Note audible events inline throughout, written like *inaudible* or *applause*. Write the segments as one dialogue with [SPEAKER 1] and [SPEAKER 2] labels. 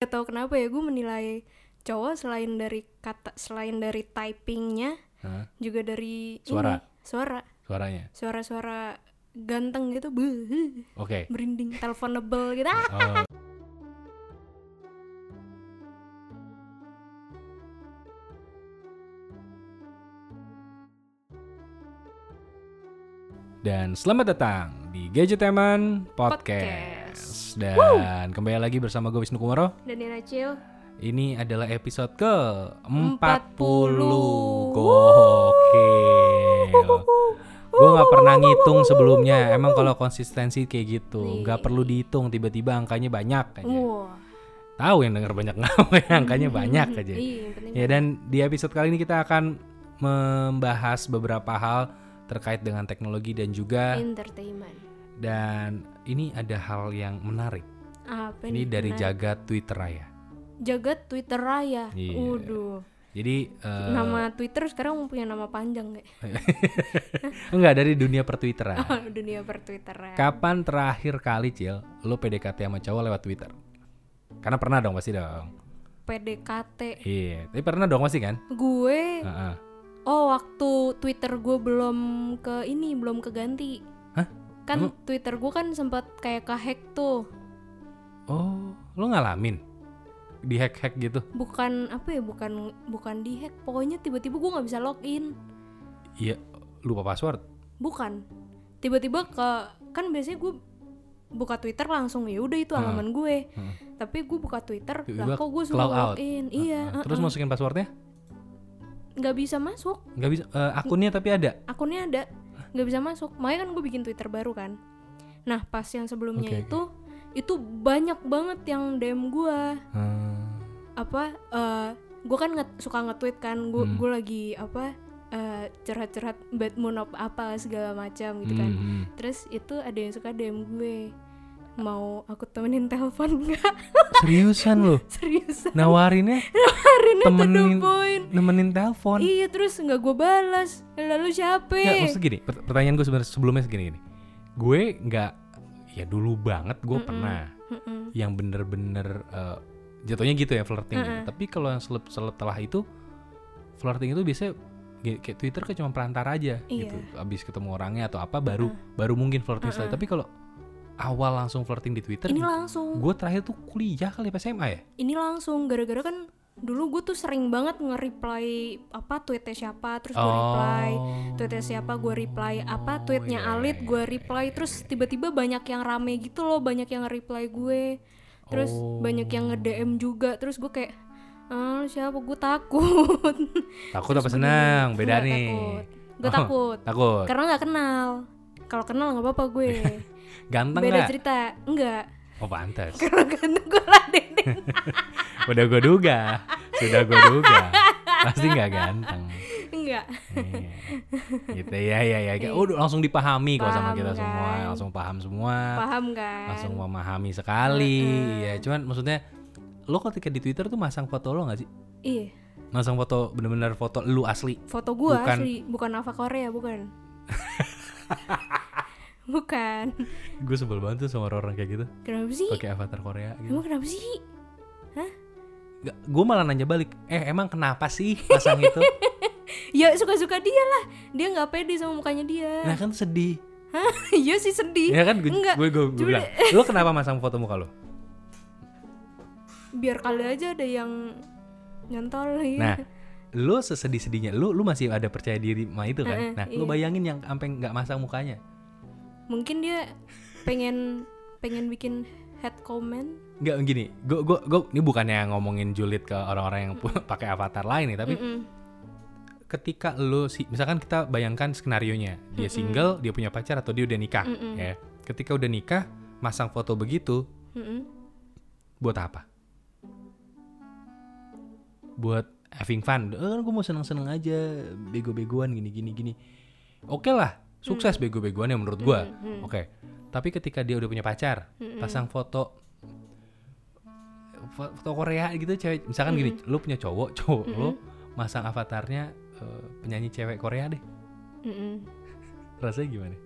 [SPEAKER 1] gak tau kenapa ya gue menilai cowok selain dari kata selain dari typingnya
[SPEAKER 2] Hah?
[SPEAKER 1] juga dari
[SPEAKER 2] Suara.
[SPEAKER 1] ini, suara
[SPEAKER 2] suaranya.
[SPEAKER 1] suara-suara ganteng gitu beuh, *laughs*
[SPEAKER 2] Oke.
[SPEAKER 1] merinding teleponable gitu ah.
[SPEAKER 2] Oh. Dan selamat datang di Gadgeteman Podcast.
[SPEAKER 1] Podcast.
[SPEAKER 2] Dan kembali lagi bersama gue Wisnu Kumoro.
[SPEAKER 1] dan yang acil
[SPEAKER 2] Ini adalah episode ke 40.
[SPEAKER 1] 40.
[SPEAKER 2] Gokil. Gue nggak pernah ngitung sebelumnya. Emang kalau konsistensi kayak gitu, nggak
[SPEAKER 1] Nih.
[SPEAKER 2] perlu dihitung. Tiba-tiba angkanya banyak aja.
[SPEAKER 1] wah
[SPEAKER 2] Tahu yang denger banyak *laughs* nggak? angkanya banyak aja.
[SPEAKER 1] Iya. iya yang penting
[SPEAKER 2] Ya dan di episode kali ini kita akan membahas beberapa hal terkait dengan teknologi dan
[SPEAKER 1] Iya.
[SPEAKER 2] juga
[SPEAKER 1] entertainment
[SPEAKER 2] dan ini ada hal yang menarik.
[SPEAKER 1] apa
[SPEAKER 2] Ini
[SPEAKER 1] nih?
[SPEAKER 2] dari
[SPEAKER 1] Nah,
[SPEAKER 2] jagat Twitter ya.
[SPEAKER 1] jagat twitter raya
[SPEAKER 2] Iya.
[SPEAKER 1] waduh
[SPEAKER 2] Jadi eh,
[SPEAKER 1] nama twitter sekarang punya nama panjang kayak
[SPEAKER 2] Enggak dari dunia
[SPEAKER 1] Oh.
[SPEAKER 2] pertwitteran.
[SPEAKER 1] *laughs* dunia per twitter ya
[SPEAKER 2] Kapan terakhir kali Cil lu PDKT sama cowok lewat Twitter? Karena pernah dong pasti dong.
[SPEAKER 1] PDKT
[SPEAKER 2] Iya, tapi pernah dong pasti kan?
[SPEAKER 1] gue
[SPEAKER 2] Heeh.
[SPEAKER 1] Oh, waktu Twitter gue belum ke ini, belum keganti.
[SPEAKER 2] Hah?
[SPEAKER 1] Kan Twitter gue kan sempat kayak kehack tuh.
[SPEAKER 2] Oh, lu ngalamin di hack-hack gitu.
[SPEAKER 1] Bukan apa ya, bukan bukan dihack. Pokoknya tiba-tiba gue nggak bisa login.
[SPEAKER 2] Iya, lupa password.
[SPEAKER 1] Bukan. Tiba-tiba ke kan biasanya gue buka Twitter langsung ya udah itu
[SPEAKER 2] Ah.
[SPEAKER 1] halaman gue.
[SPEAKER 2] Heeh.
[SPEAKER 1] Tapi gue buka Twitter, lah
[SPEAKER 2] Tiba-tiba
[SPEAKER 1] kok gue
[SPEAKER 2] cloud
[SPEAKER 1] suruh
[SPEAKER 2] out.
[SPEAKER 1] login. Iya,
[SPEAKER 2] Heeh.
[SPEAKER 1] eh,
[SPEAKER 2] Terus masukin passwordnya?
[SPEAKER 1] nggak bisa masuk.
[SPEAKER 2] Nggak bisa eh, akunnya tapi ada.
[SPEAKER 1] akunnya ada nggak bisa masuk makanya kan gue bikin twitter baru kan nah pas yang sebelumnya
[SPEAKER 2] Oke, oke.
[SPEAKER 1] itu itu banyak banget yang dm gue
[SPEAKER 2] Hmm,
[SPEAKER 1] apa gue kan nge- suka nge-tweet kan gue
[SPEAKER 2] Hmm.
[SPEAKER 1] gue lagi apa eh, curhat-curhat bad moon apa, apa segala macam gitu kan
[SPEAKER 2] hmm, hmm.
[SPEAKER 1] terus itu ada yang suka dm gue mau aku temenin telepon nggak *laughs*
[SPEAKER 2] Seriusan lu?
[SPEAKER 1] serius
[SPEAKER 2] Nawarinnya
[SPEAKER 1] hari ini to the
[SPEAKER 2] Nah, Temenin.
[SPEAKER 1] point
[SPEAKER 2] nemenin telepon.
[SPEAKER 1] iya terus nggak gue balas lalu siapa
[SPEAKER 2] Nggak, maksudnya gini, per- pertanyaan gue sebenarnya sebelumnya segini gini. Gue nggak ya dulu banget gue pernah
[SPEAKER 1] Mm-mm.
[SPEAKER 2] yang bener-bener eh, jatuhnya gitu ya flirting. gitu. Tapi kalau yang seleb seleb telah itu flirting itu biasanya gi- kayak Twitter kayak cuma perantara aja
[SPEAKER 1] Iya.
[SPEAKER 2] gitu. Abis ketemu orangnya atau apa baru baru mungkin flirting sekali. Tapi kalau awal langsung flirting di Twitter,
[SPEAKER 1] ini langsung
[SPEAKER 2] gue terakhir tuh kuliah kali pas SMA ya.
[SPEAKER 1] ini langsung gara-gara kan dulu gue tuh sering banget nge-reply apa tweetnya siapa terus gue reply tweetnya siapa gue reply apa tweetnya
[SPEAKER 2] Oh. iya,
[SPEAKER 1] Alit
[SPEAKER 2] iya,
[SPEAKER 1] gue reply terus tiba-tiba banyak yang rame gitu loh banyak yang reply gue terus
[SPEAKER 2] Oh.
[SPEAKER 1] banyak yang nge-DM juga terus gue kayak ah lu siapa gue takut *laughs*
[SPEAKER 2] Takut apa senang? Beda
[SPEAKER 1] Nggak
[SPEAKER 2] nih.
[SPEAKER 1] takut. gue
[SPEAKER 2] Oh, *laughs*
[SPEAKER 1] takut
[SPEAKER 2] Takut.
[SPEAKER 1] karena nggak kenal kalau kenal nggak apa-apa gue
[SPEAKER 2] Ganteng
[SPEAKER 1] beda
[SPEAKER 2] Iya. nggak?
[SPEAKER 1] cerita enggak
[SPEAKER 2] Oh pantas.
[SPEAKER 1] *laughs* kalau ganteng gue ladenin
[SPEAKER 2] Udah gue duga. Sudah gue duga. Pasti nggak ganteng.
[SPEAKER 1] enggak
[SPEAKER 2] Iya. gitu ya ya ya. Kayak, Udah langsung dipahami kok
[SPEAKER 1] Iya.
[SPEAKER 2] sama
[SPEAKER 1] Paham
[SPEAKER 2] kita
[SPEAKER 1] kan?
[SPEAKER 2] semua. Langsung paham semua.
[SPEAKER 1] paham kan
[SPEAKER 2] Nah, Langsung memahami sekali. Ya cuman maksudnya lo ketika di Twitter tuh masang foto lo nggak sih?
[SPEAKER 1] iya
[SPEAKER 2] Masang foto bener-bener foto lu asli.
[SPEAKER 1] foto gua
[SPEAKER 2] Bukan.
[SPEAKER 1] asli bukan Ava Korea
[SPEAKER 2] *laughs*
[SPEAKER 1] bukan bukan
[SPEAKER 2] Gue sebel banget tuh sama orang-orang kayak gitu.
[SPEAKER 1] kenapa sih
[SPEAKER 2] Pakai avatar Korea gitu.
[SPEAKER 1] emang kenapa sih
[SPEAKER 2] Gue malah nanya balik, eh emang kenapa sih pasang
[SPEAKER 1] *laughs*
[SPEAKER 2] itu?
[SPEAKER 1] ya suka suka dia lah dia nggak pede sama mukanya dia
[SPEAKER 2] Nah kan sedih.
[SPEAKER 1] *laughs* iya sih sedih
[SPEAKER 2] Ya kan gue
[SPEAKER 1] Enggak.
[SPEAKER 2] gue gue
[SPEAKER 1] Cuma-
[SPEAKER 2] bilang, lo kenapa masang foto muka lo?
[SPEAKER 1] biar kali aja ada yang nyantol ya
[SPEAKER 2] Nah, lo sesedih-sedihnya, lo lu masih ada percaya diri sama itu kan?
[SPEAKER 1] Heeh,
[SPEAKER 2] nah, lo bayangin yang sampai nggak masang mukanya,
[SPEAKER 1] mungkin dia pengen pengen bikin head comment
[SPEAKER 2] nggak gini. Gue gue gue ini bukannya ngomongin julid ke orang-orang yang pu- pakai avatar lain nih, tapi
[SPEAKER 1] Mm-mm.
[SPEAKER 2] ketika lo si, misalkan kita bayangkan skenario nya, dia single, dia punya pacar atau dia udah nikah,
[SPEAKER 1] Mm-mm.
[SPEAKER 2] ya. Ketika udah nikah, masang foto begitu
[SPEAKER 1] Mm-mm.
[SPEAKER 2] buat apa? Buat having fun. Eh, gue mau seneng-seneng aja, bego-begoan gini-gini gini. Oke lah, sukses
[SPEAKER 1] Mm.
[SPEAKER 2] bego-begoan ya menurut gue.
[SPEAKER 1] Mm-mm.
[SPEAKER 2] Oke. Tapi ketika dia udah punya pacar,
[SPEAKER 1] Mm-mm.
[SPEAKER 2] Oh, pasang foto fo- foto Korea gitu cewek. Misalkan gini, lu punya cowok, cowok lu masang avatarnya eh, penyanyi cewek Korea deh.
[SPEAKER 1] Mm-mm.
[SPEAKER 2] Rasanya gimana? *laughs*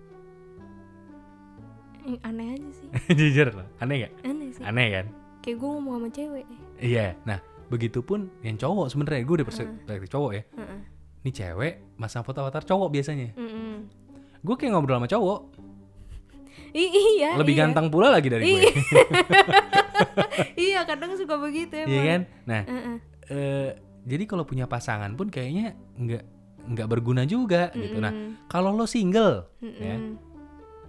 [SPEAKER 1] Yang Eh, aneh aja sih
[SPEAKER 2] Jujur lah, aneh gak?
[SPEAKER 1] aneh sih
[SPEAKER 2] Aneh kan?
[SPEAKER 1] kayak gue ngomong sama cewek
[SPEAKER 2] Iya. Nah, begitupun yang cowok sebenarnya gue udah perspektif cowok ya.
[SPEAKER 1] Heeh.
[SPEAKER 2] Ini cewek masang foto avatar cowok biasanya.
[SPEAKER 1] Mm-mm.
[SPEAKER 2] Gue kayak ngobrol sama cowok,
[SPEAKER 1] I- iya
[SPEAKER 2] lebih
[SPEAKER 1] iya.
[SPEAKER 2] ganteng pula lagi dari gue.
[SPEAKER 1] Iya. iya kadang suka begitu emang
[SPEAKER 2] *laughs* Iya kan? Nah,
[SPEAKER 1] Heeh.
[SPEAKER 2] eh, jadi kalau punya pasangan pun kayaknya nggak nggak berguna juga gitu. Nah,
[SPEAKER 1] Mm-mm.
[SPEAKER 2] kalau lo single ya,
[SPEAKER 1] Mm-mm.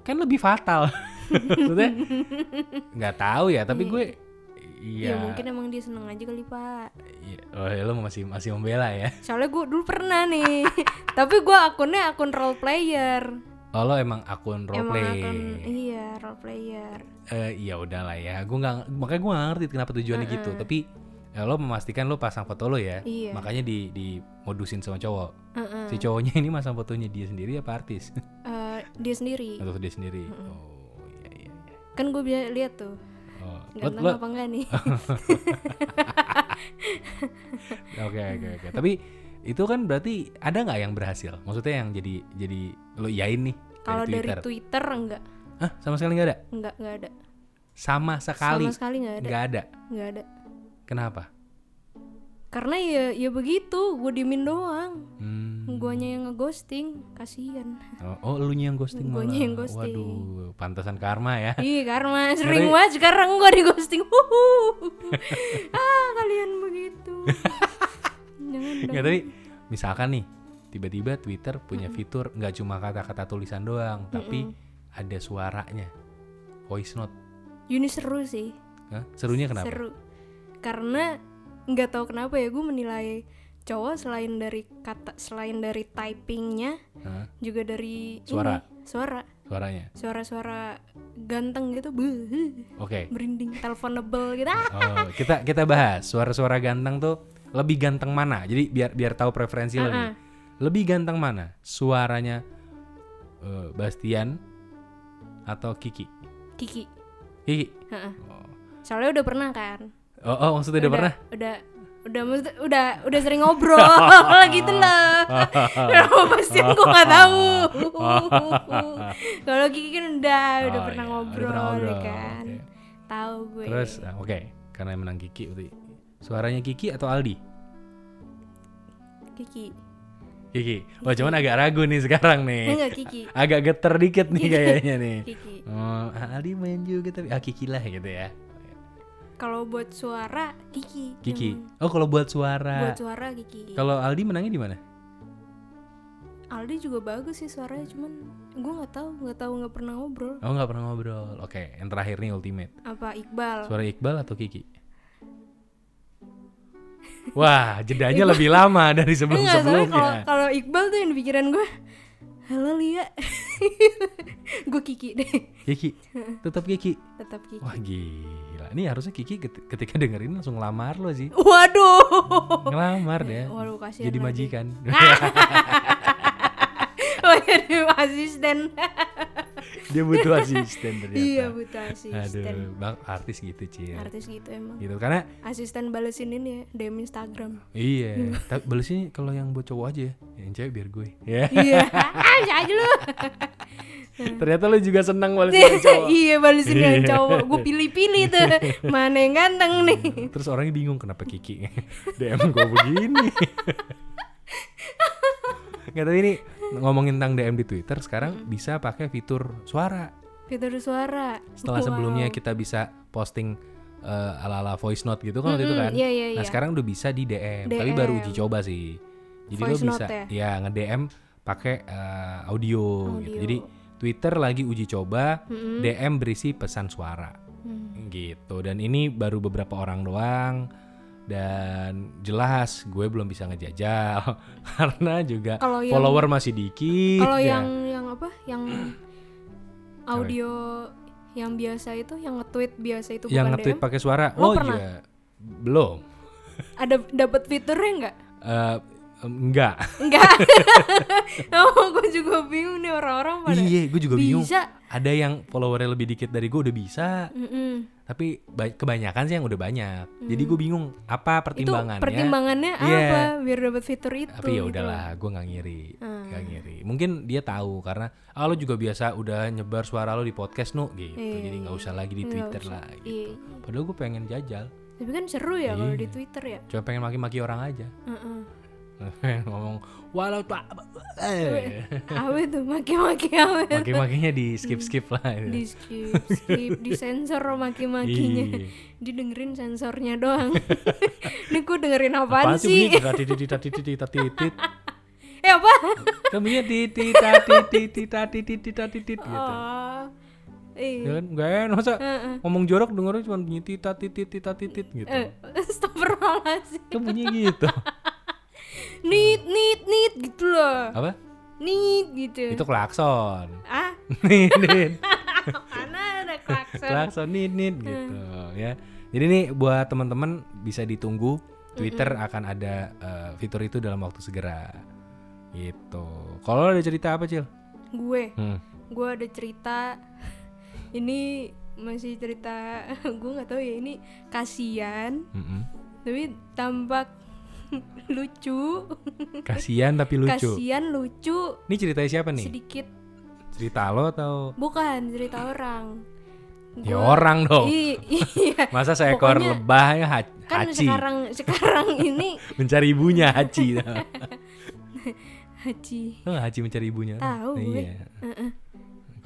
[SPEAKER 2] kan lebih *laughs* fatal. Maksudnya nggak tahu ya, tapi
[SPEAKER 1] Iya.
[SPEAKER 2] gue
[SPEAKER 1] Ya.
[SPEAKER 2] iya.
[SPEAKER 1] mungkin emang dia seneng aja kali pak
[SPEAKER 2] iya. Oh, ya, lo masih masih membela ya.
[SPEAKER 1] Soalnya gue dulu pernah nih *laughs* Tapi gue akunnya akun role player
[SPEAKER 2] Oh, lo emang akun
[SPEAKER 1] Emang
[SPEAKER 2] roleplay.
[SPEAKER 1] akun Iya role player
[SPEAKER 2] eh ya udahlah ya gue nggak makanya gue nggak ngerti kenapa tujuannya gitu tapi ya, lo memastikan lo pasang foto lo ya
[SPEAKER 1] Iya.
[SPEAKER 2] makanya di di modusin sama cowok
[SPEAKER 1] Heeh.
[SPEAKER 2] si cowoknya ini masang fotonya dia sendiri apa artis
[SPEAKER 1] Eh, Dia sendiri
[SPEAKER 2] atau dia sendiri oh iya iya iya
[SPEAKER 1] Kan gue bisa lihat tuh
[SPEAKER 2] oh lo-
[SPEAKER 1] Ganteng
[SPEAKER 2] lo-
[SPEAKER 1] apa enggak
[SPEAKER 2] *laughs*
[SPEAKER 1] nih
[SPEAKER 2] oke oke
[SPEAKER 1] Hmm.
[SPEAKER 2] oke tapi itu kan berarti ada nggak yang berhasil maksudnya yang jadi jadi lo iyain nih
[SPEAKER 1] Kalau dari
[SPEAKER 2] Twitter
[SPEAKER 1] Twitter enggak
[SPEAKER 2] Hah, sama sekali nggak ada
[SPEAKER 1] Enggak, enggak ada
[SPEAKER 2] sama sekali
[SPEAKER 1] Sama sekali enggak ada
[SPEAKER 2] nggak ada
[SPEAKER 1] Enggak ada
[SPEAKER 2] kenapa
[SPEAKER 1] Karena ya ya begitu Gue diemin doang
[SPEAKER 2] hmm.
[SPEAKER 1] Guanya yang ngeghosting Kasian
[SPEAKER 2] Oh, lu yang ghosting malah.
[SPEAKER 1] Guanya yang ghosting.
[SPEAKER 2] Waduh, pantasan karma ya.
[SPEAKER 1] Ih karma sering
[SPEAKER 2] Ngeri.
[SPEAKER 1] banget sekarang gue di ghosting *laughs* Huhu. Ah kalian begitu Jangan dong
[SPEAKER 2] Nggak, tapi misalkan nih, tiba-tiba Twitter
[SPEAKER 1] Hmm.
[SPEAKER 2] punya fitur nggak cuma kata-kata tulisan doang, tapi ada suaranya. Voice note.
[SPEAKER 1] Ini seru sih
[SPEAKER 2] Hah? Serunya kenapa?
[SPEAKER 1] Seru Karena nggak tahu kenapa ya gue menilai cowok selain dari kata selain dari typingnya
[SPEAKER 2] Hah?
[SPEAKER 1] juga dari ini,
[SPEAKER 2] Suara.
[SPEAKER 1] suara
[SPEAKER 2] Suaranya.
[SPEAKER 1] suara-suara ganteng gitu beuh,
[SPEAKER 2] Oke.
[SPEAKER 1] merinding *laughs* teleponable gitu Ah,
[SPEAKER 2] Oh, kita kita bahas suara-suara ganteng tuh lebih ganteng mana? Jadi biar biar tahu preferensi
[SPEAKER 1] ah,
[SPEAKER 2] lo
[SPEAKER 1] Uh-uh.
[SPEAKER 2] nih. Lebih ganteng mana? Suaranya eh, Bastian atau Kiki?
[SPEAKER 1] Kiki
[SPEAKER 2] Kiki.
[SPEAKER 1] Heeh.
[SPEAKER 2] Oh.
[SPEAKER 1] soalnya udah pernah kan
[SPEAKER 2] Oh, oh, maksudnya udah pernah?
[SPEAKER 1] udah udah maksud- udah udah sering ngobrol *laughs* gitu loh kenapa pasti gue nggak
[SPEAKER 2] *laughs*
[SPEAKER 1] tahu kalau Kiki kan udah udah
[SPEAKER 2] Oh,
[SPEAKER 1] pernah
[SPEAKER 2] iya, udah
[SPEAKER 1] ngobrol,
[SPEAKER 2] pernah
[SPEAKER 1] ya
[SPEAKER 2] ngobrol,
[SPEAKER 1] kan
[SPEAKER 2] oke.
[SPEAKER 1] tahu gue
[SPEAKER 2] Terus ah, oke, karena yang menang Kiki berarti. Suaranya Kiki atau Aldi?
[SPEAKER 1] Kiki
[SPEAKER 2] Kiki. Wah, cuman agak ragu nih sekarang nih.
[SPEAKER 1] enggak Iya. Kiki
[SPEAKER 2] Agak geter dikit nih kayaknya
[SPEAKER 1] *laughs*
[SPEAKER 2] nih.
[SPEAKER 1] Kiki
[SPEAKER 2] Oh, ah, Aldi main juga tapi ah Kiki lah gitu ya.
[SPEAKER 1] kalau buat suara Kiki
[SPEAKER 2] Kiki.
[SPEAKER 1] emang.
[SPEAKER 2] Oh, kalau buat suara.
[SPEAKER 1] Iya. buat suara Kiki
[SPEAKER 2] Kalau Aldi menangnya di mana?
[SPEAKER 1] Aldi juga bagus sih suaranya cuman gue nggak tahu nggak tahu nggak pernah ngobrol
[SPEAKER 2] Oh, nggak pernah ngobrol. Oke, yang terakhir nih ultimate.
[SPEAKER 1] apa Iqbal
[SPEAKER 2] Suara Iqbal atau Kiki? Wah, jedanya lebih lama dari
[SPEAKER 1] Enggak, soalnya kalau
[SPEAKER 2] sebelum-sebelumnya.
[SPEAKER 1] kalau Iqbal tuh yang di pikiran gue Halo Lia *laughs* Gue Kiki deh
[SPEAKER 2] Kiki, tetap Kiki.
[SPEAKER 1] Tetap Kiki
[SPEAKER 2] Wah gila, ini harusnya Kiki ket- ketika dengerin langsung ngelamar lo sih
[SPEAKER 1] Waduh
[SPEAKER 2] Ngelamar deh,
[SPEAKER 1] Waduh Iya, kasihan
[SPEAKER 2] jadi
[SPEAKER 1] lagi.
[SPEAKER 2] majikan
[SPEAKER 1] *laughs*
[SPEAKER 2] *laughs* Iya,
[SPEAKER 1] Oh jadi asisten
[SPEAKER 2] Dia butuh asisten ternyata
[SPEAKER 1] Iya butuh asisten
[SPEAKER 2] Aduh, bang artis gitu Cil
[SPEAKER 1] Artis gitu emang
[SPEAKER 2] Gitu, karena
[SPEAKER 1] Asisten balesin ini ya DM
[SPEAKER 2] *laughs*
[SPEAKER 1] Instagram *laughs*
[SPEAKER 2] iya Tapi balesnya kalau yang buat cowok aja ya Yang cewek biar gue ya.
[SPEAKER 1] Iya Ah bisa aja lu
[SPEAKER 2] Ternyata lo juga senang
[SPEAKER 1] *laughs*
[SPEAKER 2] balesnya yang cowok
[SPEAKER 1] Iya balesin yang
[SPEAKER 2] Iya.
[SPEAKER 1] cowok Gue pilih-pilih
[SPEAKER 2] *laughs*
[SPEAKER 1] tuh Mana yang ganteng nih *laughs*
[SPEAKER 2] Terus orangnya bingung kenapa Kiki *laughs* DM gue begini *laughs* Nggak, tapi ini ngomongin tentang DM di Twitter Sekarang bisa pakai fitur suara
[SPEAKER 1] Fitur suara
[SPEAKER 2] setelah
[SPEAKER 1] Wow.
[SPEAKER 2] sebelumnya kita bisa posting eh, ala-ala voice note gitu kan waktu itu
[SPEAKER 1] Mm-mm,
[SPEAKER 2] kan.
[SPEAKER 1] iya, iya,
[SPEAKER 2] Nah,
[SPEAKER 1] iya.
[SPEAKER 2] sekarang udah bisa di DM, tapi baru uji coba sih. Jadi
[SPEAKER 1] Voice
[SPEAKER 2] lo
[SPEAKER 1] note
[SPEAKER 2] bisa ya, nge-DM pakai eh, audio, gitu.
[SPEAKER 1] Audio.
[SPEAKER 2] Jadi Twitter lagi uji coba
[SPEAKER 1] Mm-mm.
[SPEAKER 2] DM berisi pesan suara
[SPEAKER 1] Hmm.
[SPEAKER 2] gitu. Dan ini baru beberapa orang doang dan jelas gue belum bisa ngejajal *laughs* karena juga
[SPEAKER 1] Kalau yang-
[SPEAKER 2] follower masih dikit.
[SPEAKER 1] Kalau
[SPEAKER 2] ya.
[SPEAKER 1] yang yang apa?
[SPEAKER 2] *clears throat*
[SPEAKER 1] Yang audio yang biasa itu, yang nge-tweet biasa itu
[SPEAKER 2] yang
[SPEAKER 1] bukan
[SPEAKER 2] nge-tweet
[SPEAKER 1] DM.
[SPEAKER 2] pakai suara,
[SPEAKER 1] Lo
[SPEAKER 2] oh
[SPEAKER 1] pernah?
[SPEAKER 2] iya. Belum.
[SPEAKER 1] Ada dapat fiturnya nggak?
[SPEAKER 2] Eh, em, enggak. *laughs*
[SPEAKER 1] Enggak. oh, gue juga bingung nih orang-orang pada.
[SPEAKER 2] Iya, gue juga Iya, bingung.
[SPEAKER 1] Bisa.
[SPEAKER 2] Ada yang followernya lebih dikit dari gue udah bisa.
[SPEAKER 1] Mm-mm.
[SPEAKER 2] Tapi ba- kebanyakan sih yang udah banyak. Jadi gue bingung
[SPEAKER 1] Hmm.
[SPEAKER 2] apa
[SPEAKER 1] itu
[SPEAKER 2] pertimbangannya.
[SPEAKER 1] pertimbangannya
[SPEAKER 2] Iya.
[SPEAKER 1] apa biar dapat fitur itu gitu
[SPEAKER 2] Tapi ya
[SPEAKER 1] Ah. loh.
[SPEAKER 2] udahlah, gue nggak ngiri, nggak ngiri. Mungkin dia tahu karena ah lo juga biasa udah nyebar suara lo di podcast nu gitu.
[SPEAKER 1] Iya,
[SPEAKER 2] Jadi nggak usah lagi di
[SPEAKER 1] Nggak
[SPEAKER 2] Twitter
[SPEAKER 1] usah. Iya.
[SPEAKER 2] lah gitu. Padahal gue pengen jajal,
[SPEAKER 1] tapi kan seru ya kalau di
[SPEAKER 2] Iya.
[SPEAKER 1] Twitter ya
[SPEAKER 2] cuma pengen maki-maki orang aja. *laughs*
[SPEAKER 1] Heeh.
[SPEAKER 2] Ngomong walau tuh
[SPEAKER 1] *laughs* apa itu maki-maki apa
[SPEAKER 2] maki-makinya di skip-skip lah. gitu.
[SPEAKER 1] di skip skip di sensor maki-makinya
[SPEAKER 2] Iya.
[SPEAKER 1] didengerin sensornya doang *laughs* ini gue dengerin apaan,
[SPEAKER 2] Apaan
[SPEAKER 1] sih *laughs*
[SPEAKER 2] bunyi? Tati, titi, tati, titi, tati, titit.
[SPEAKER 1] eh apa
[SPEAKER 2] Kan bunyinya titi, tati, titi, tati, titi, tati, titit, gitu.
[SPEAKER 1] oh
[SPEAKER 2] Ya
[SPEAKER 1] iya *laughs*
[SPEAKER 2] kan gak enak masa
[SPEAKER 1] Heeh.
[SPEAKER 2] ngomong jorok dengerin cuma bunyi tita titit tita titit gitu.
[SPEAKER 1] eh astagfirullahaladzim
[SPEAKER 2] Kan bunyinya
[SPEAKER 1] *laughs*
[SPEAKER 2] gitu.
[SPEAKER 1] nit nit nit gitu loh
[SPEAKER 2] Apa?
[SPEAKER 1] nit gitu
[SPEAKER 2] Itu klakson. *laughs*
[SPEAKER 1] ah *laughs*
[SPEAKER 2] Nit, nit.
[SPEAKER 1] mana ada klakson Hmm.
[SPEAKER 2] klakson nit nit gitu ya. Jadi nih buat teman-teman bisa ditunggu Twitter
[SPEAKER 1] Hmm.
[SPEAKER 2] akan ada eh, fitur itu dalam waktu segera. Gitu. Kalau ada cerita apa, Cil?
[SPEAKER 1] gue
[SPEAKER 2] Hmm.
[SPEAKER 1] gue ada cerita ini masih cerita *laughs* gue nggak tahu ya ini kasihan
[SPEAKER 2] Mm-mm.
[SPEAKER 1] tapi tampak *laughs* lucu
[SPEAKER 2] Kasihan tapi lucu.
[SPEAKER 1] kasihan lucu
[SPEAKER 2] Ini ceritanya siapa nih?
[SPEAKER 1] sedikit
[SPEAKER 2] Cerita lo atau
[SPEAKER 1] bukan cerita orang
[SPEAKER 2] ya
[SPEAKER 1] Gua-
[SPEAKER 2] orang dong?
[SPEAKER 1] I- iya
[SPEAKER 2] Masa seekor
[SPEAKER 1] Pokoknya-
[SPEAKER 2] lebah ya ha-
[SPEAKER 1] kan
[SPEAKER 2] haci
[SPEAKER 1] sekarang sekarang ini
[SPEAKER 2] mencari
[SPEAKER 1] *laughs*
[SPEAKER 2] ibunya haci.
[SPEAKER 1] haji
[SPEAKER 2] Lo haci mencari ibunya?
[SPEAKER 1] Tahu
[SPEAKER 2] Nah,
[SPEAKER 1] gue.
[SPEAKER 2] Iya.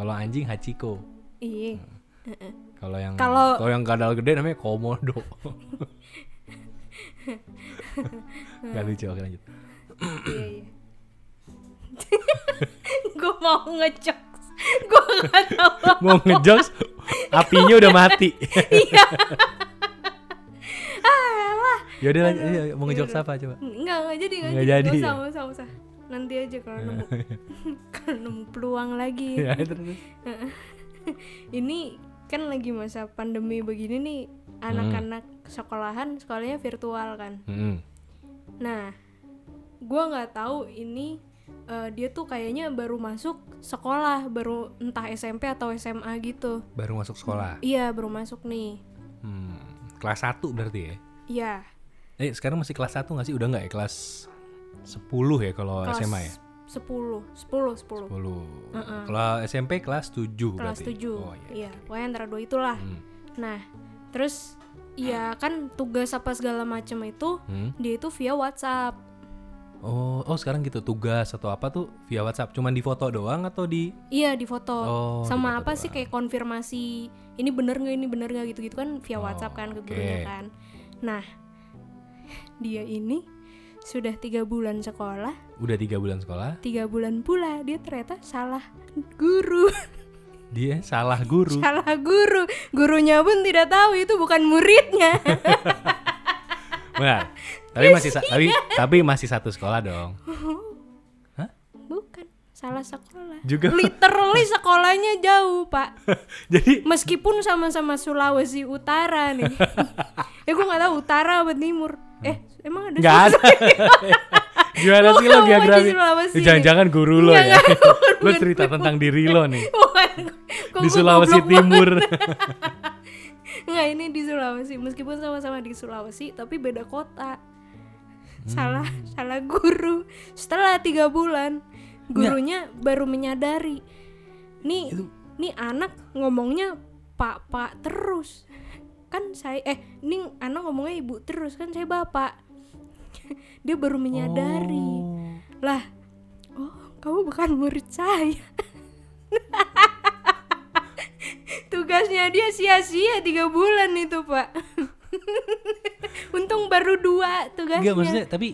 [SPEAKER 2] Kalau anjing hachiko.
[SPEAKER 1] iya
[SPEAKER 2] Kalau yang
[SPEAKER 1] Kalau-
[SPEAKER 2] kalau yang kadal gede namanya
[SPEAKER 1] *laughs*
[SPEAKER 2] komodo. Gak lucu, oke lanjut.
[SPEAKER 1] iya iya *laughs* gue mau ngejokes gue nggak tahu
[SPEAKER 2] Mau ngejokes, apinya udah
[SPEAKER 1] *laughs*
[SPEAKER 2] mati.
[SPEAKER 1] iya Ah,
[SPEAKER 2] Yaudah lanjut, ayo, mau ngejokes
[SPEAKER 1] iya.
[SPEAKER 2] apa coba?
[SPEAKER 1] Enggak, enggak jadi, enggak
[SPEAKER 2] Nggak
[SPEAKER 1] jadi.
[SPEAKER 2] jadi
[SPEAKER 1] Nggak
[SPEAKER 2] ya?
[SPEAKER 1] usah, nggak usah, nggak usah. Nanti aja kalau nemu *laughs* kalau nemu peluang lagi.
[SPEAKER 2] *laughs* Ya, terus.
[SPEAKER 1] *laughs* Ini kan lagi masa pandemi begini nih,
[SPEAKER 2] Hmm.
[SPEAKER 1] anak-anak sekolahan sekolahnya virtual kan.
[SPEAKER 2] Mm-mm.
[SPEAKER 1] Nah, gua nggak tahu ini eh, dia tuh kayaknya baru masuk sekolah, baru entah SMP atau SMA gitu.
[SPEAKER 2] Baru masuk sekolah.
[SPEAKER 1] Iya, baru masuk nih.
[SPEAKER 2] Hmm, Kelas 1 berarti ya?
[SPEAKER 1] Iya.
[SPEAKER 2] Eh, sekarang masih kelas 1 gak sih? Udah gak ya? Kelas 10 ya kalau
[SPEAKER 1] kelas
[SPEAKER 2] SMA ya?
[SPEAKER 1] 10, 10, 10.
[SPEAKER 2] 10. Kalau SMP kelas 7
[SPEAKER 1] kelas
[SPEAKER 2] berarti.
[SPEAKER 1] 7
[SPEAKER 2] Oh iya.
[SPEAKER 1] iya pokoknya antara dua itulah
[SPEAKER 2] Hmm.
[SPEAKER 1] nah terus ya kan tugas apa segala macem itu
[SPEAKER 2] Hmm.
[SPEAKER 1] dia itu via WhatsApp
[SPEAKER 2] Oh, oh sekarang gitu tugas atau apa tuh via WhatsApp? Cuman di foto doang atau di
[SPEAKER 1] iya di foto
[SPEAKER 2] Oh,
[SPEAKER 1] sama
[SPEAKER 2] difoto
[SPEAKER 1] apa sih kayak konfirmasi ini bener nggak ini bener nggak gitu gitu kan via
[SPEAKER 2] Oh,
[SPEAKER 1] WhatsApp kan ke
[SPEAKER 2] oke.
[SPEAKER 1] gurunya kan nah dia ini sudah tiga bulan sekolah
[SPEAKER 2] udah tiga bulan sekolah?
[SPEAKER 1] tiga bulan pula dia ternyata salah guru *laughs*
[SPEAKER 2] Dia salah guru.
[SPEAKER 1] salah guru gurunya pun tidak tahu itu bukan muridnya
[SPEAKER 2] *laughs* Benar.
[SPEAKER 1] Iya
[SPEAKER 2] Nah, Tapi masih sa- tapi tapi masih satu sekolah
[SPEAKER 1] *laughs*
[SPEAKER 2] dong.
[SPEAKER 1] Bukan, salah sekolah.
[SPEAKER 2] Juga.
[SPEAKER 1] Literally sekolahnya jauh, Pak.
[SPEAKER 2] Jadi
[SPEAKER 1] Meskipun sama-sama Sulawesi Utara
[SPEAKER 2] *laughs*
[SPEAKER 1] nih. eh, gue gak tahu utara apa timur. Eh, emang ada
[SPEAKER 2] nggak
[SPEAKER 1] *laughs*
[SPEAKER 2] ada. *laughs* Gimana sih lo
[SPEAKER 1] Mau di
[SPEAKER 2] geografi?
[SPEAKER 1] Sulawesi
[SPEAKER 2] Eh, Jangan-jangan guru lo
[SPEAKER 1] Nggak,
[SPEAKER 2] ya.
[SPEAKER 1] nggak, bukan,
[SPEAKER 2] *laughs* Lo
[SPEAKER 1] bukan,
[SPEAKER 2] cerita tentang diri lo nih
[SPEAKER 1] Bukan. Kok
[SPEAKER 2] di
[SPEAKER 1] gua
[SPEAKER 2] Sulawesi
[SPEAKER 1] goblok banget?
[SPEAKER 2] Timur. *laughs*
[SPEAKER 1] Nggak, ini di Sulawesi. Meskipun sama-sama di Sulawesi, tapi beda kota. Salah, salah guru. Setelah tiga bulan, gurunya baru menyadari. Nih, nih anak ngomongnya pak pak terus. Kan saya, eh, nih anak ngomongnya ibu terus kan saya bapak. *laughs* Dia baru menyadari.
[SPEAKER 2] Oh.
[SPEAKER 1] Lah, oh kamu bukan murid saya. *laughs* Tugasnya dia sia-sia tiga bulan itu pak. *laughs* Untung baru dua
[SPEAKER 2] Nggak,
[SPEAKER 1] tugasnya.
[SPEAKER 2] maksudnya tapi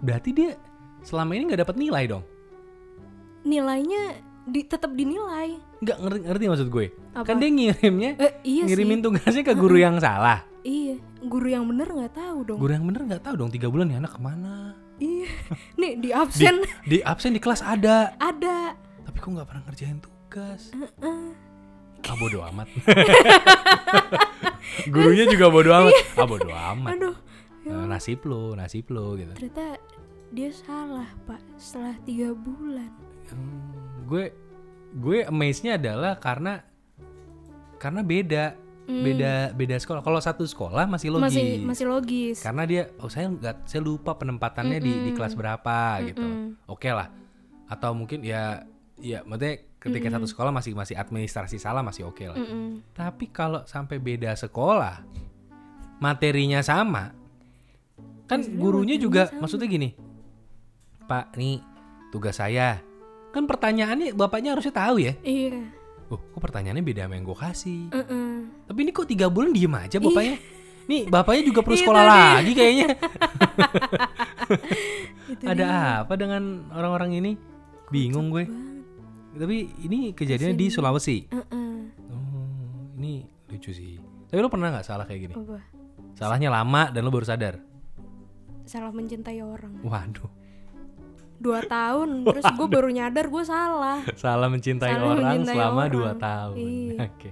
[SPEAKER 2] berarti dia selama ini nggak dapat nilai dong.
[SPEAKER 1] Nilainya di, tetap dinilai.
[SPEAKER 2] Nggak ngerti, ngerti maksud gue.
[SPEAKER 1] Apa?
[SPEAKER 2] Kan dia ngirimnya
[SPEAKER 1] Eh, iya
[SPEAKER 2] ngirimin tugasnya ke guru yang salah.
[SPEAKER 1] sih. Iya, guru yang bener nggak tahu dong.
[SPEAKER 2] Guru yang bener nggak tahu dong tiga bulan ya anak kemana? *laughs*
[SPEAKER 1] Iya, nih di
[SPEAKER 2] Di,
[SPEAKER 1] absen
[SPEAKER 2] di absen di kelas ada,
[SPEAKER 1] ada.
[SPEAKER 2] tapi kok nggak pernah ngerjain tugas. Ah bodo amat.
[SPEAKER 1] *laughs*
[SPEAKER 2] Gurunya juga bodo amat. Ah bodo amat.
[SPEAKER 1] Iya. Aduh, ya
[SPEAKER 2] Eh, Nasib lo, nasib lo gitu.
[SPEAKER 1] ternyata dia salah pak setelah tiga bulan.
[SPEAKER 2] Hmm, Gue gue amaze-nya adalah karena karena beda beda beda sekolah. Kalau satu sekolah masih logis.
[SPEAKER 1] masih masih logis
[SPEAKER 2] Karena dia oh saya nggak saya lupa penempatannya di di kelas berapa gitu. Oke lah. Atau mungkin ya ya maksudnya ketika satu sekolah masih masih administrasi salah masih oke lah.
[SPEAKER 1] Mm-mm.
[SPEAKER 2] Tapi kalau sampai beda sekolah, materinya sama, kan gurunya juga maksudnya gini, Pak, nih tugas saya. Kan pertanyaannya bapaknya harusnya tahu ya.
[SPEAKER 1] iya
[SPEAKER 2] Oh, kok pertanyaannya beda sama yang gue kasih.
[SPEAKER 1] Mm-mm.
[SPEAKER 2] Tapi ini kok tiga bulan diem aja bapaknya. Nih bapaknya juga perlu sekolah lagi kayaknya.
[SPEAKER 1] Itu
[SPEAKER 2] Ada apa dengan orang-orang ini? Bingung gue. Tapi ini kejadian di Sulawesi.
[SPEAKER 1] Mm-mm.
[SPEAKER 2] Oh, ini lucu sih. Tapi lo pernah nggak salah kayak gini?
[SPEAKER 1] Apa?
[SPEAKER 2] Salahnya lama dan lo baru sadar.
[SPEAKER 1] salah mencintai orang
[SPEAKER 2] Waduh,
[SPEAKER 1] dua tahun
[SPEAKER 2] *laughs*
[SPEAKER 1] terus gue baru nyadar gue salah
[SPEAKER 2] salah mencintai
[SPEAKER 1] Salah
[SPEAKER 2] orang
[SPEAKER 1] mencintai
[SPEAKER 2] selama
[SPEAKER 1] orang.
[SPEAKER 2] 2 tahun.
[SPEAKER 1] Iya.
[SPEAKER 2] Oke.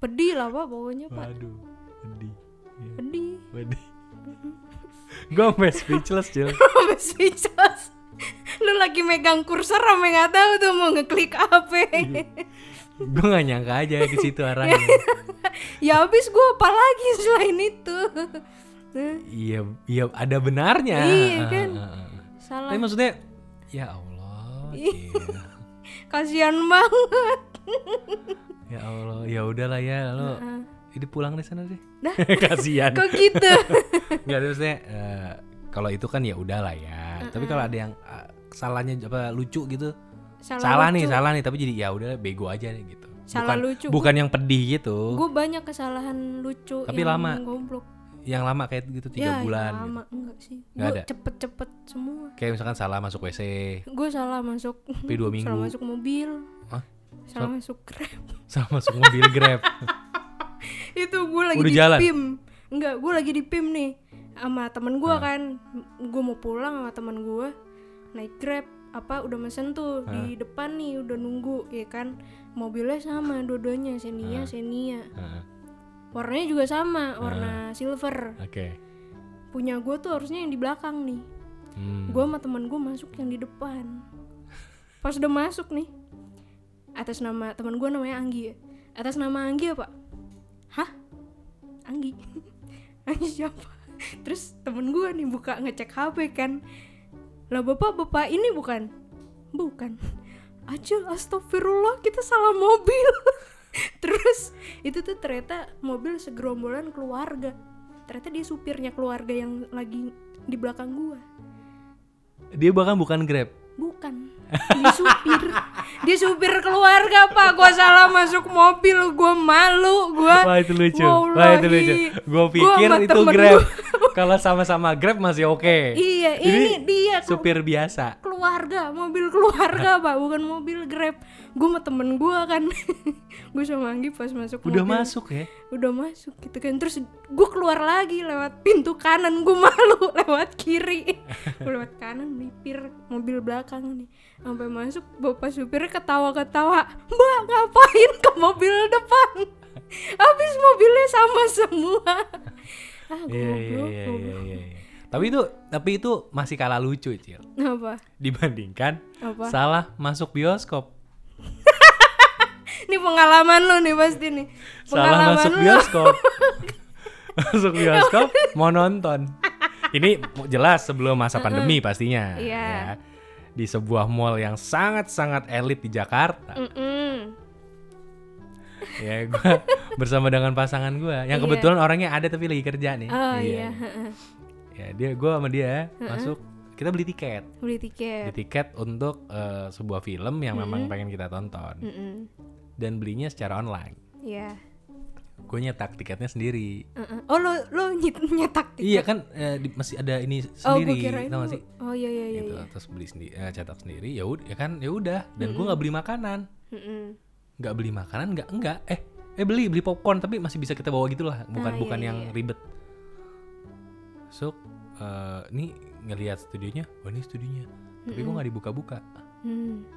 [SPEAKER 1] pedih lah pak pokoknya pak
[SPEAKER 2] Waduh, pedih. Iya,
[SPEAKER 1] pedih *laughs*
[SPEAKER 2] Pedih. gue sampai speechless, Jil.
[SPEAKER 1] Sampai speechless lu lagi megang kursor sampe nggak tahu tuh mau ngeklik apa
[SPEAKER 2] Iya. gue gak nyangka aja ke situ arahnya.
[SPEAKER 1] ya habis gue apa lagi selain itu Nah,
[SPEAKER 2] iya, iya ada benarnya.
[SPEAKER 1] Iya, kan?
[SPEAKER 2] Ah, ah, ah.
[SPEAKER 1] salah
[SPEAKER 2] Tapi maksudnya ya Allah,
[SPEAKER 1] Iya.
[SPEAKER 2] Jil.
[SPEAKER 1] kasihan banget
[SPEAKER 2] ya Allah, ya udahlah ya lo. Ini pulang deh sana deh. *laughs*
[SPEAKER 1] Dah.
[SPEAKER 2] Kasihan.
[SPEAKER 1] Ah, kok
[SPEAKER 2] *laughs*
[SPEAKER 1] gitu
[SPEAKER 2] Enggak ada maksudnya eh, kalau itu kan ya udahlah
[SPEAKER 1] Ah,
[SPEAKER 2] ya. Tapi kalau ada yang eh, salahnya apa lucu gitu. Salah, nih, salah nih, tapi jadi ya udah bego aja deh gitu.
[SPEAKER 1] Salah
[SPEAKER 2] bukan,
[SPEAKER 1] lucu.
[SPEAKER 2] Bukan yang pedih gitu.
[SPEAKER 1] gue banyak kesalahan lucu
[SPEAKER 2] Tapi
[SPEAKER 1] yang
[SPEAKER 2] lama.
[SPEAKER 1] goblok
[SPEAKER 2] Yang lama kayak gitu tiga
[SPEAKER 1] ya,
[SPEAKER 2] bulan.
[SPEAKER 1] ya
[SPEAKER 2] gitu.
[SPEAKER 1] lama enggak sih
[SPEAKER 2] Nggak
[SPEAKER 1] gue
[SPEAKER 2] ada?
[SPEAKER 1] cepet-cepet semua
[SPEAKER 2] Kayak misalkan salah masuk WC.
[SPEAKER 1] gue salah masuk
[SPEAKER 2] Tapi
[SPEAKER 1] *laughs*
[SPEAKER 2] dua minggu.
[SPEAKER 1] salah masuk mobil
[SPEAKER 2] Hah?
[SPEAKER 1] salah masuk grab
[SPEAKER 2] Salah masuk mobil Grab.
[SPEAKER 1] *laughs* itu gue lagi
[SPEAKER 2] Udah
[SPEAKER 1] di
[SPEAKER 2] jalan?
[SPEAKER 1] pim enggak gue lagi di pim nih sama temen
[SPEAKER 2] Ah.
[SPEAKER 1] gue kan gue mau pulang sama temen gue naik grab apa udah mesen tuh
[SPEAKER 2] Ah.
[SPEAKER 1] di depan nih udah nunggu ya kan mobilnya sama dua-duanya senia
[SPEAKER 2] Ah.
[SPEAKER 1] senia
[SPEAKER 2] Heeh,
[SPEAKER 1] warnanya juga sama
[SPEAKER 2] Ah.
[SPEAKER 1] warna silver
[SPEAKER 2] Oke.
[SPEAKER 1] punya gue tuh harusnya yang di belakang nih
[SPEAKER 2] Hmm.
[SPEAKER 1] gue sama temen gue masuk yang di depan pas udah masuk nih atas nama temen gue namanya Anggi ya. atas nama Anggi apa hah Anggi *laughs* Anggi siapa terus temen gue nih buka ngecek HP kan lah bapak bapak ini bukan bukan Ajil astagfirullah kita salah mobil *laughs* terus itu tuh ternyata mobil segerombolan keluarga ternyata dia supirnya keluarga yang lagi di belakang gua
[SPEAKER 2] Dia bahkan bukan Grab.
[SPEAKER 1] Bukan. Dia
[SPEAKER 2] *laughs*
[SPEAKER 1] supir. Dia supir keluarga, Pak. Gua salah masuk mobil, gua malu, gua.
[SPEAKER 2] Wah itu lucu.
[SPEAKER 1] Wallahi.
[SPEAKER 2] Wah itu lucu. Gue
[SPEAKER 1] Gua
[SPEAKER 2] pikir
[SPEAKER 1] sama
[SPEAKER 2] itu
[SPEAKER 1] temen
[SPEAKER 2] *laughs* Grab.
[SPEAKER 1] gua.
[SPEAKER 2] Kalau sama-sama Grab masih oke.
[SPEAKER 1] Iya,
[SPEAKER 2] Jadi,
[SPEAKER 1] ini dia kelu-
[SPEAKER 2] Supir biasa.
[SPEAKER 1] keluarga, mobil keluarga, Pak, bukan mobil Grab. Gua sama temen gua kan. *laughs* gua sama Anggi pas masuk
[SPEAKER 2] Udah
[SPEAKER 1] mobil.
[SPEAKER 2] masuk ya.
[SPEAKER 1] Udah masuk gitu kan. Terus gua keluar lagi lewat pintu kanan, gua malu *laughs* lewat kiri. Gua lewat kanan melipir mobil belakang nih. Sampai masuk bapak supirnya ketawa-ketawa. "Mbak, ngapain ke mobil depan?" Habis mobilnya sama semua. Ah,
[SPEAKER 2] Iya iya
[SPEAKER 1] goblok.
[SPEAKER 2] iya iya.
[SPEAKER 1] goblok.
[SPEAKER 2] iya, iya. Tapi itu tapi itu masih kalah lucu, Cil.
[SPEAKER 1] Apa?
[SPEAKER 2] Dibandingkan
[SPEAKER 1] Apa?
[SPEAKER 2] salah masuk bioskop.
[SPEAKER 1] Ini pengalaman lu nih pasti nih.
[SPEAKER 2] salah
[SPEAKER 1] Pengalaman
[SPEAKER 2] masuk
[SPEAKER 1] lu.
[SPEAKER 2] bioskop.
[SPEAKER 1] *laughs*
[SPEAKER 2] masuk bioskop mau nonton. Ini jelas sebelum masa pandemi pastinya.
[SPEAKER 1] Iya.
[SPEAKER 2] ya. Di sebuah mall yang sangat-sangat elit di Jakarta.
[SPEAKER 1] Mm. Mm-mm.
[SPEAKER 2] *laughs* ya gue bersama dengan pasangan gue yang kebetulan orangnya ada tapi lagi kerja nih
[SPEAKER 1] Iya. Oh iya,
[SPEAKER 2] iya
[SPEAKER 1] heeh.
[SPEAKER 2] ya dia gue sama dia masuk kita beli tiket
[SPEAKER 1] Beli
[SPEAKER 2] beli
[SPEAKER 1] tiket.
[SPEAKER 2] tiket untuk eh, sebuah film yang memang pengen kita tonton
[SPEAKER 1] Mm-mm.
[SPEAKER 2] dan belinya secara online
[SPEAKER 1] Iya.
[SPEAKER 2] gue nyetak tiketnya sendiri
[SPEAKER 1] Heeh. Oh lo lo nyet- nyetak tiket.
[SPEAKER 2] iya kan eh, di- masih ada ini
[SPEAKER 1] Oh gue
[SPEAKER 2] sendiri
[SPEAKER 1] kirain
[SPEAKER 2] tau
[SPEAKER 1] lu-
[SPEAKER 2] gak sih
[SPEAKER 1] Oh iya iya iya.
[SPEAKER 2] gitu
[SPEAKER 1] iya.
[SPEAKER 2] terus beli sendiri eh, cetak sendiri ya udah ya kan ya udah dan gue nggak beli makanan
[SPEAKER 1] Mm-mm.
[SPEAKER 2] nggak beli makanan nggak enggak eh eh beli beli popcorn tapi masih bisa kita bawa gitu lah bukan
[SPEAKER 1] Ah, iya,
[SPEAKER 2] bukan yang
[SPEAKER 1] iya.
[SPEAKER 2] ribet so eh, ini ngelihat studionya oh ini studionya tapi gua nggak dibuka-buka
[SPEAKER 1] Hmm.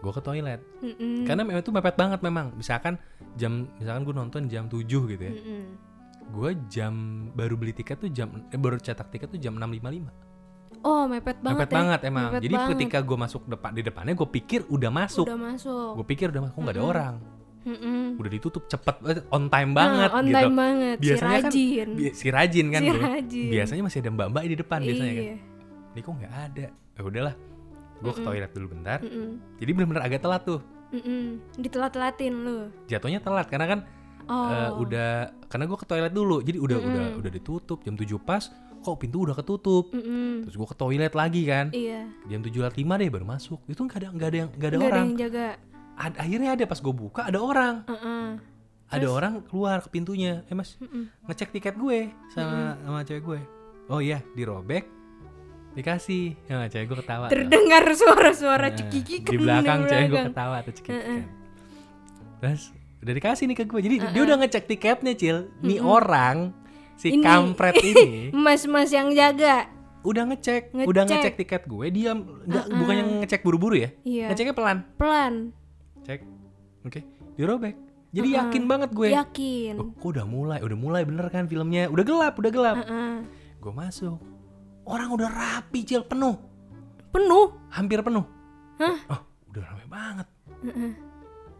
[SPEAKER 2] gua ke toilet
[SPEAKER 1] Mm-mm.
[SPEAKER 2] karena memang itu mepet banget memang misalkan jam misalkan gua nonton jam 7 gitu ya
[SPEAKER 1] Mm-mm.
[SPEAKER 2] gua jam baru beli tiket tuh jam eh, baru cetak tiket tuh jam 6.55
[SPEAKER 1] Oh mepet banget.
[SPEAKER 2] mepet
[SPEAKER 1] ya.
[SPEAKER 2] banget emang
[SPEAKER 1] Mepet
[SPEAKER 2] jadi
[SPEAKER 1] banget.
[SPEAKER 2] ketika gua masuk depan di depannya gua pikir udah masuk
[SPEAKER 1] udah masuk.
[SPEAKER 2] gue pikir udah mah kok nggak ada orang
[SPEAKER 1] Mm-mm.
[SPEAKER 2] udah ditutup cepet eh, on time
[SPEAKER 1] Nah,
[SPEAKER 2] banget
[SPEAKER 1] on
[SPEAKER 2] gitu
[SPEAKER 1] time banget si
[SPEAKER 2] biasanya kan
[SPEAKER 1] rajin.
[SPEAKER 2] bi- si rajin kan
[SPEAKER 1] Si
[SPEAKER 2] dulu.
[SPEAKER 1] rajin.
[SPEAKER 2] biasanya masih ada mbak mbak di depan biasanya kan
[SPEAKER 1] Iya.
[SPEAKER 2] ini kok nggak ada ya udahlah gue ke toilet dulu bentar
[SPEAKER 1] Mm-mm.
[SPEAKER 2] jadi benar-benar agak telat tuh
[SPEAKER 1] Mm-mm. ditelat-telatin lu
[SPEAKER 2] jatuhnya telat karena kan
[SPEAKER 1] oh
[SPEAKER 2] eh, udah karena gue ke toilet dulu jadi udah udah udah ditutup jam 7 pas kok pintu udah ketutup
[SPEAKER 1] Mm-mm.
[SPEAKER 2] terus gue ke toilet lagi kan
[SPEAKER 1] iya
[SPEAKER 2] jam tujuh lewat lima deh baru masuk itu nggak ada nggak ada yang nggak ada
[SPEAKER 1] Nggak ada
[SPEAKER 2] orang
[SPEAKER 1] yang jaga
[SPEAKER 2] Ad- akhirnya ada pas gue buka ada orang
[SPEAKER 1] Heeh.
[SPEAKER 2] ada orang keluar ke pintunya eh mas ngecek tiket gue sama sama cewek gue oh iya dirobek dikasih ya cewek gue ketawa tuh.
[SPEAKER 1] terdengar suara-suara
[SPEAKER 2] Nah,
[SPEAKER 1] cekikikan
[SPEAKER 2] di belakang cewek gue
[SPEAKER 1] belakang.
[SPEAKER 2] ketawa tuh cekikikan terus udah dikasih nih ke gue jadi dia udah ngecek tiketnya cil nih orang si
[SPEAKER 1] Ini- *laughs*
[SPEAKER 2] kampret ini
[SPEAKER 1] mas-mas yang jaga
[SPEAKER 2] udah ngecek, udah
[SPEAKER 1] Ngecek.
[SPEAKER 2] ngecek tiket gue dia nggak bukan yang ngecek buru-buru ya
[SPEAKER 1] Iya.
[SPEAKER 2] ngeceknya pelan
[SPEAKER 1] pelan
[SPEAKER 2] cek oke dirobek jadi yakin banget gue
[SPEAKER 1] yakin
[SPEAKER 2] oh, kok udah mulai udah mulai bener kan filmnya udah gelap udah gelap
[SPEAKER 1] Heeh.
[SPEAKER 2] gue masuk orang udah rapi cil penuh
[SPEAKER 1] penuh
[SPEAKER 2] hampir penuh
[SPEAKER 1] Hah?
[SPEAKER 2] oh udah rame banget
[SPEAKER 1] Heeh.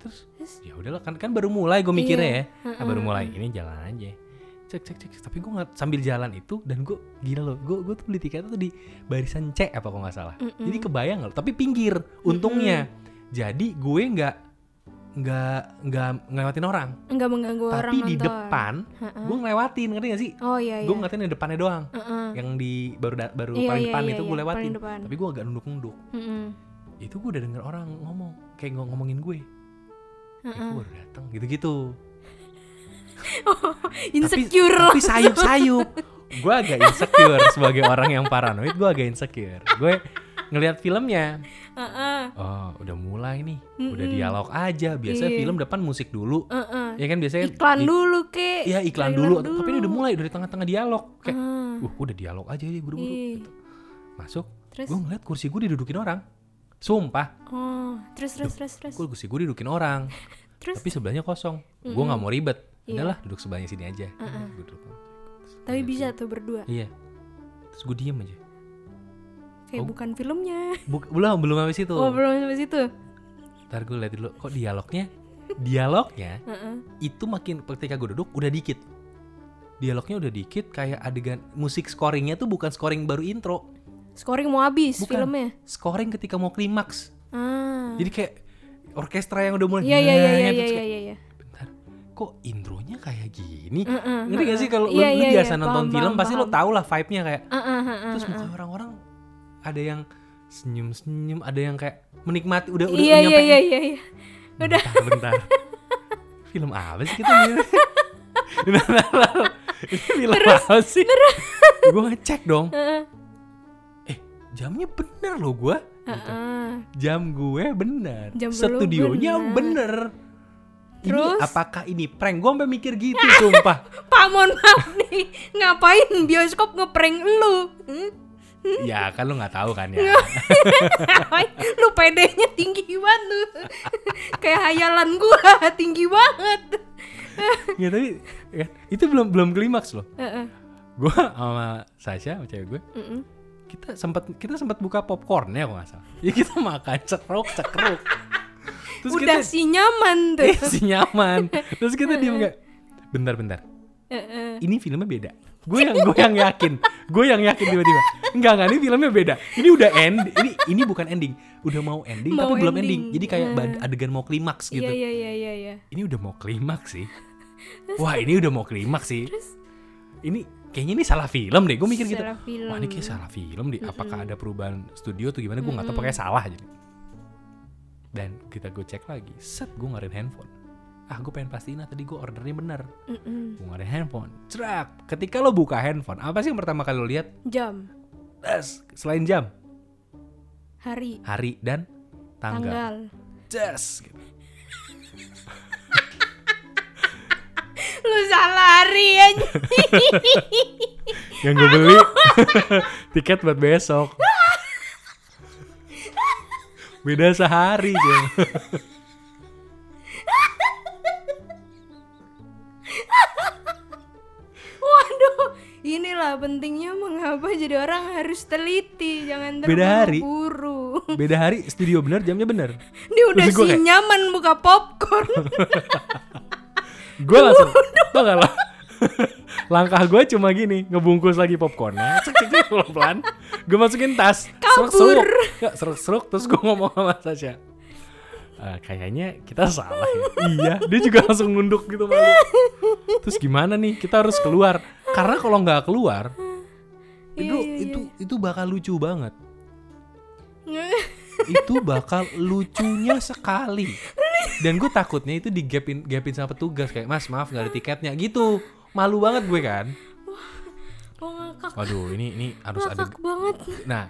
[SPEAKER 2] terus
[SPEAKER 1] Terus?
[SPEAKER 2] ya udahlah kan kan baru mulai gue
[SPEAKER 1] Iya.
[SPEAKER 2] mikirnya ya Ah, baru mulai ini jalan aja cek cek cek tapi gue nggak sambil jalan itu dan gue gila loh gue gue tuh beli tiket tuh di barisan C apa kok nggak salah jadi kebayang loh tapi pinggir untungnya jadi gue nggak nggak nggak ngelewatin orang
[SPEAKER 1] nggak mengganggu orang
[SPEAKER 2] tapi di
[SPEAKER 1] nonton.
[SPEAKER 2] depan gue ngelewatin ngerti gak sih
[SPEAKER 1] oh iya
[SPEAKER 2] gue
[SPEAKER 1] iya
[SPEAKER 2] ngeliatin yang depannya doang
[SPEAKER 1] Heeh.
[SPEAKER 2] yang di baru da- baru
[SPEAKER 1] Iya,
[SPEAKER 2] paling
[SPEAKER 1] iya,
[SPEAKER 2] depan
[SPEAKER 1] iya,
[SPEAKER 2] itu gue
[SPEAKER 1] iya,
[SPEAKER 2] lewatin
[SPEAKER 1] paling depan.
[SPEAKER 2] tapi gue agak nunduk nunduk *laughs*
[SPEAKER 1] Heeh.
[SPEAKER 2] itu gue udah denger orang ngomong kayak ngom- ngomongin gue Eh, gue baru datang gitu-gitu
[SPEAKER 1] Oh, insecure
[SPEAKER 2] *laughs* tapi sayup-sayup gue agak insecure sebagai orang yang paranoid gue agak insecure gue ngelihat filmnya
[SPEAKER 1] Heeh.
[SPEAKER 2] oh udah mulai nih udah
[SPEAKER 1] Mm-mm.
[SPEAKER 2] dialog aja biasanya
[SPEAKER 1] Iya.
[SPEAKER 2] film depan musik dulu
[SPEAKER 1] Heeh.
[SPEAKER 2] ya kan biasanya
[SPEAKER 1] iklan
[SPEAKER 2] i-
[SPEAKER 1] dulu kek
[SPEAKER 2] Iya iklan dulu. tapi ini udah mulai dari tengah-tengah dialog kayak
[SPEAKER 1] Ah,
[SPEAKER 2] uh udah dialog aja ya buru-buru
[SPEAKER 1] Ih.
[SPEAKER 2] gitu. masuk
[SPEAKER 1] Iya. terus
[SPEAKER 2] gue ngeliat kursi gue didudukin orang sumpah
[SPEAKER 1] oh terus terus terus terus
[SPEAKER 2] gue kursi gue didudukin orang
[SPEAKER 1] terus Iya.
[SPEAKER 2] tapi sebelahnya kosong gue nggak mau ribet udahlah duduk sebelahnya sini aja Gua duduk.
[SPEAKER 1] tapi bisa tuh berdua
[SPEAKER 2] iya terus gue diem
[SPEAKER 1] Oh,
[SPEAKER 2] aja oh.
[SPEAKER 1] kayak bukan filmnya
[SPEAKER 2] Buk- belum belum habis itu
[SPEAKER 1] oh belum sampai situ
[SPEAKER 2] ntar gue lihat dulu kok dialognya dialognya
[SPEAKER 1] Heeh.
[SPEAKER 2] itu makin ketika gue duduk udah dikit dialognya udah dikit kayak adegan musik scoringnya tuh bukan scoring baru intro
[SPEAKER 1] scoring mau habis
[SPEAKER 2] Bukan.
[SPEAKER 1] filmnya
[SPEAKER 2] scoring ketika mau klimaks
[SPEAKER 1] ah
[SPEAKER 2] jadi kayak orkestra yang udah mulai
[SPEAKER 1] iya iya iya
[SPEAKER 2] nah,
[SPEAKER 1] iya
[SPEAKER 2] terus
[SPEAKER 1] iya
[SPEAKER 2] kayak,
[SPEAKER 1] iya iya
[SPEAKER 2] bentar kok intronya kayak gini
[SPEAKER 1] Heeh,
[SPEAKER 2] ngerti gak sih kalau lu-
[SPEAKER 1] Iya,
[SPEAKER 2] lu,
[SPEAKER 1] iya, iya.
[SPEAKER 2] biasa nonton
[SPEAKER 1] Paham,
[SPEAKER 2] film
[SPEAKER 1] paham,
[SPEAKER 2] pasti lo
[SPEAKER 1] paham.
[SPEAKER 2] tau lah vibe-nya kayak
[SPEAKER 1] Ah, ah, ah, ah.
[SPEAKER 2] terus muka orang-orang ada yang senyum-senyum ada yang kayak menikmati udah udah
[SPEAKER 1] iya iya
[SPEAKER 2] nyampein
[SPEAKER 1] iya iya iya
[SPEAKER 2] Bentar,
[SPEAKER 1] *laughs*
[SPEAKER 2] bentar. film apa sih kita ini? Bentar, bentar. Ini film apa sih? Gue ngecek dong.
[SPEAKER 1] Heeh.
[SPEAKER 2] Eh, jamnya bener loh gue.
[SPEAKER 1] Heeh.
[SPEAKER 2] Jam gue bener.
[SPEAKER 1] Jam lu
[SPEAKER 2] Studionya bener.
[SPEAKER 1] Terus?
[SPEAKER 2] Ini apakah ini prank? Gue sampai mikir gitu, sumpah.
[SPEAKER 1] Pak mohon maaf nih Ngapain bioskop ngeprank lu Hmm? *laughs*
[SPEAKER 2] ya kan lo nggak tahu kan
[SPEAKER 1] Iya.
[SPEAKER 2] ya.
[SPEAKER 1] Ngapain? Lu pedenya tinggi banget *laughs* lu Kayak hayalan gua Tinggi banget
[SPEAKER 2] ya tapi ya, itu belum belum klimaks loh.
[SPEAKER 1] Heeh.
[SPEAKER 2] Gue sama Sasha, sama cewek gue,
[SPEAKER 1] Mm-mm.
[SPEAKER 2] kita sempat kita sempat buka popcorn ya kalau nggak salah. Ya kita makan cekruk cekruk. Terus gitu.
[SPEAKER 1] Udah
[SPEAKER 2] *laughs* kita
[SPEAKER 1] si nyaman tuh
[SPEAKER 2] eh, si nyaman. Terus kita diem kayak bentar bentar.
[SPEAKER 1] *laughs* Heeh.
[SPEAKER 2] Ini filmnya beda. Gue yang gue yang yakin. Gue yang yakin tiba-tiba. Enggak enggak ini filmnya beda. Ini udah end. Ini ini bukan ending. Udah mau ending
[SPEAKER 1] Mau
[SPEAKER 2] tapi belum ending.
[SPEAKER 1] ending.
[SPEAKER 2] Jadi kayak bad- adegan mau klimaks gitu.
[SPEAKER 1] Iya iya iya iya iya
[SPEAKER 2] Ini udah mau klimaks sih. Wah, ini udah mau klimaks sih. Ini kayaknya ini salah film deh. Gue mikir gitu.
[SPEAKER 1] Salah film.
[SPEAKER 2] Wah, ini kayak salah film deh. Apakah ada perubahan studio atau gimana? Gue nggak tahu. Pokoknya salah jadi. Dan kita gue cek lagi. Set, gue ngarin handphone. Ah, gue pengen pastiin ah, tadi gue ordernya bener.
[SPEAKER 1] Mm-mm.
[SPEAKER 2] Gue ngarin handphone. Cerak. Ketika lo buka handphone, apa sih yang pertama kali lo lihat?
[SPEAKER 1] Jam
[SPEAKER 2] Das, selain jam,
[SPEAKER 1] Hari
[SPEAKER 2] hari dan
[SPEAKER 1] Tanggal
[SPEAKER 2] tanggal. Das. gitu.
[SPEAKER 1] Lu salah hari aja
[SPEAKER 2] Yang gue beli *laughs* tiket buat besok. Beda sehari, Jeng.
[SPEAKER 1] *laughs* Waduh, inilah pentingnya mengapa jadi orang harus teliti, jangan
[SPEAKER 2] Beda hari.
[SPEAKER 1] terburu-buru.
[SPEAKER 2] Beda hari studio bener, jamnya bener.
[SPEAKER 1] Dia udah
[SPEAKER 2] Terus gua
[SPEAKER 1] si
[SPEAKER 2] kayak-
[SPEAKER 1] nyaman buka
[SPEAKER 2] *laughs*
[SPEAKER 1] popcorn. Iya,
[SPEAKER 2] Gue langsung tau gak lah. Langkah gue cuma gini, ngebungkus lagi popcornnya, cek cek cek pelan. Gue masukin tas, seruk-seruk, Nggak, seruk-seruk. Terus gue ngomong sama Sasha, "Eh, kayaknya kita salah ya. iya, dia juga langsung nunduk gitu malu. Terus gimana nih? Kita harus keluar. Karena kalau nggak keluar, itu
[SPEAKER 1] Iya, iya,
[SPEAKER 2] itu itu bakal lucu banget.
[SPEAKER 1] iya.
[SPEAKER 2] itu bakal lucunya sekali dan gue takutnya itu digapin gapin sama petugas kayak mas maaf nggak ada tiketnya gitu malu banget gue kan
[SPEAKER 1] Oh ngakak,
[SPEAKER 2] waduh ini ini harus ada
[SPEAKER 1] ngakak banget.
[SPEAKER 2] nah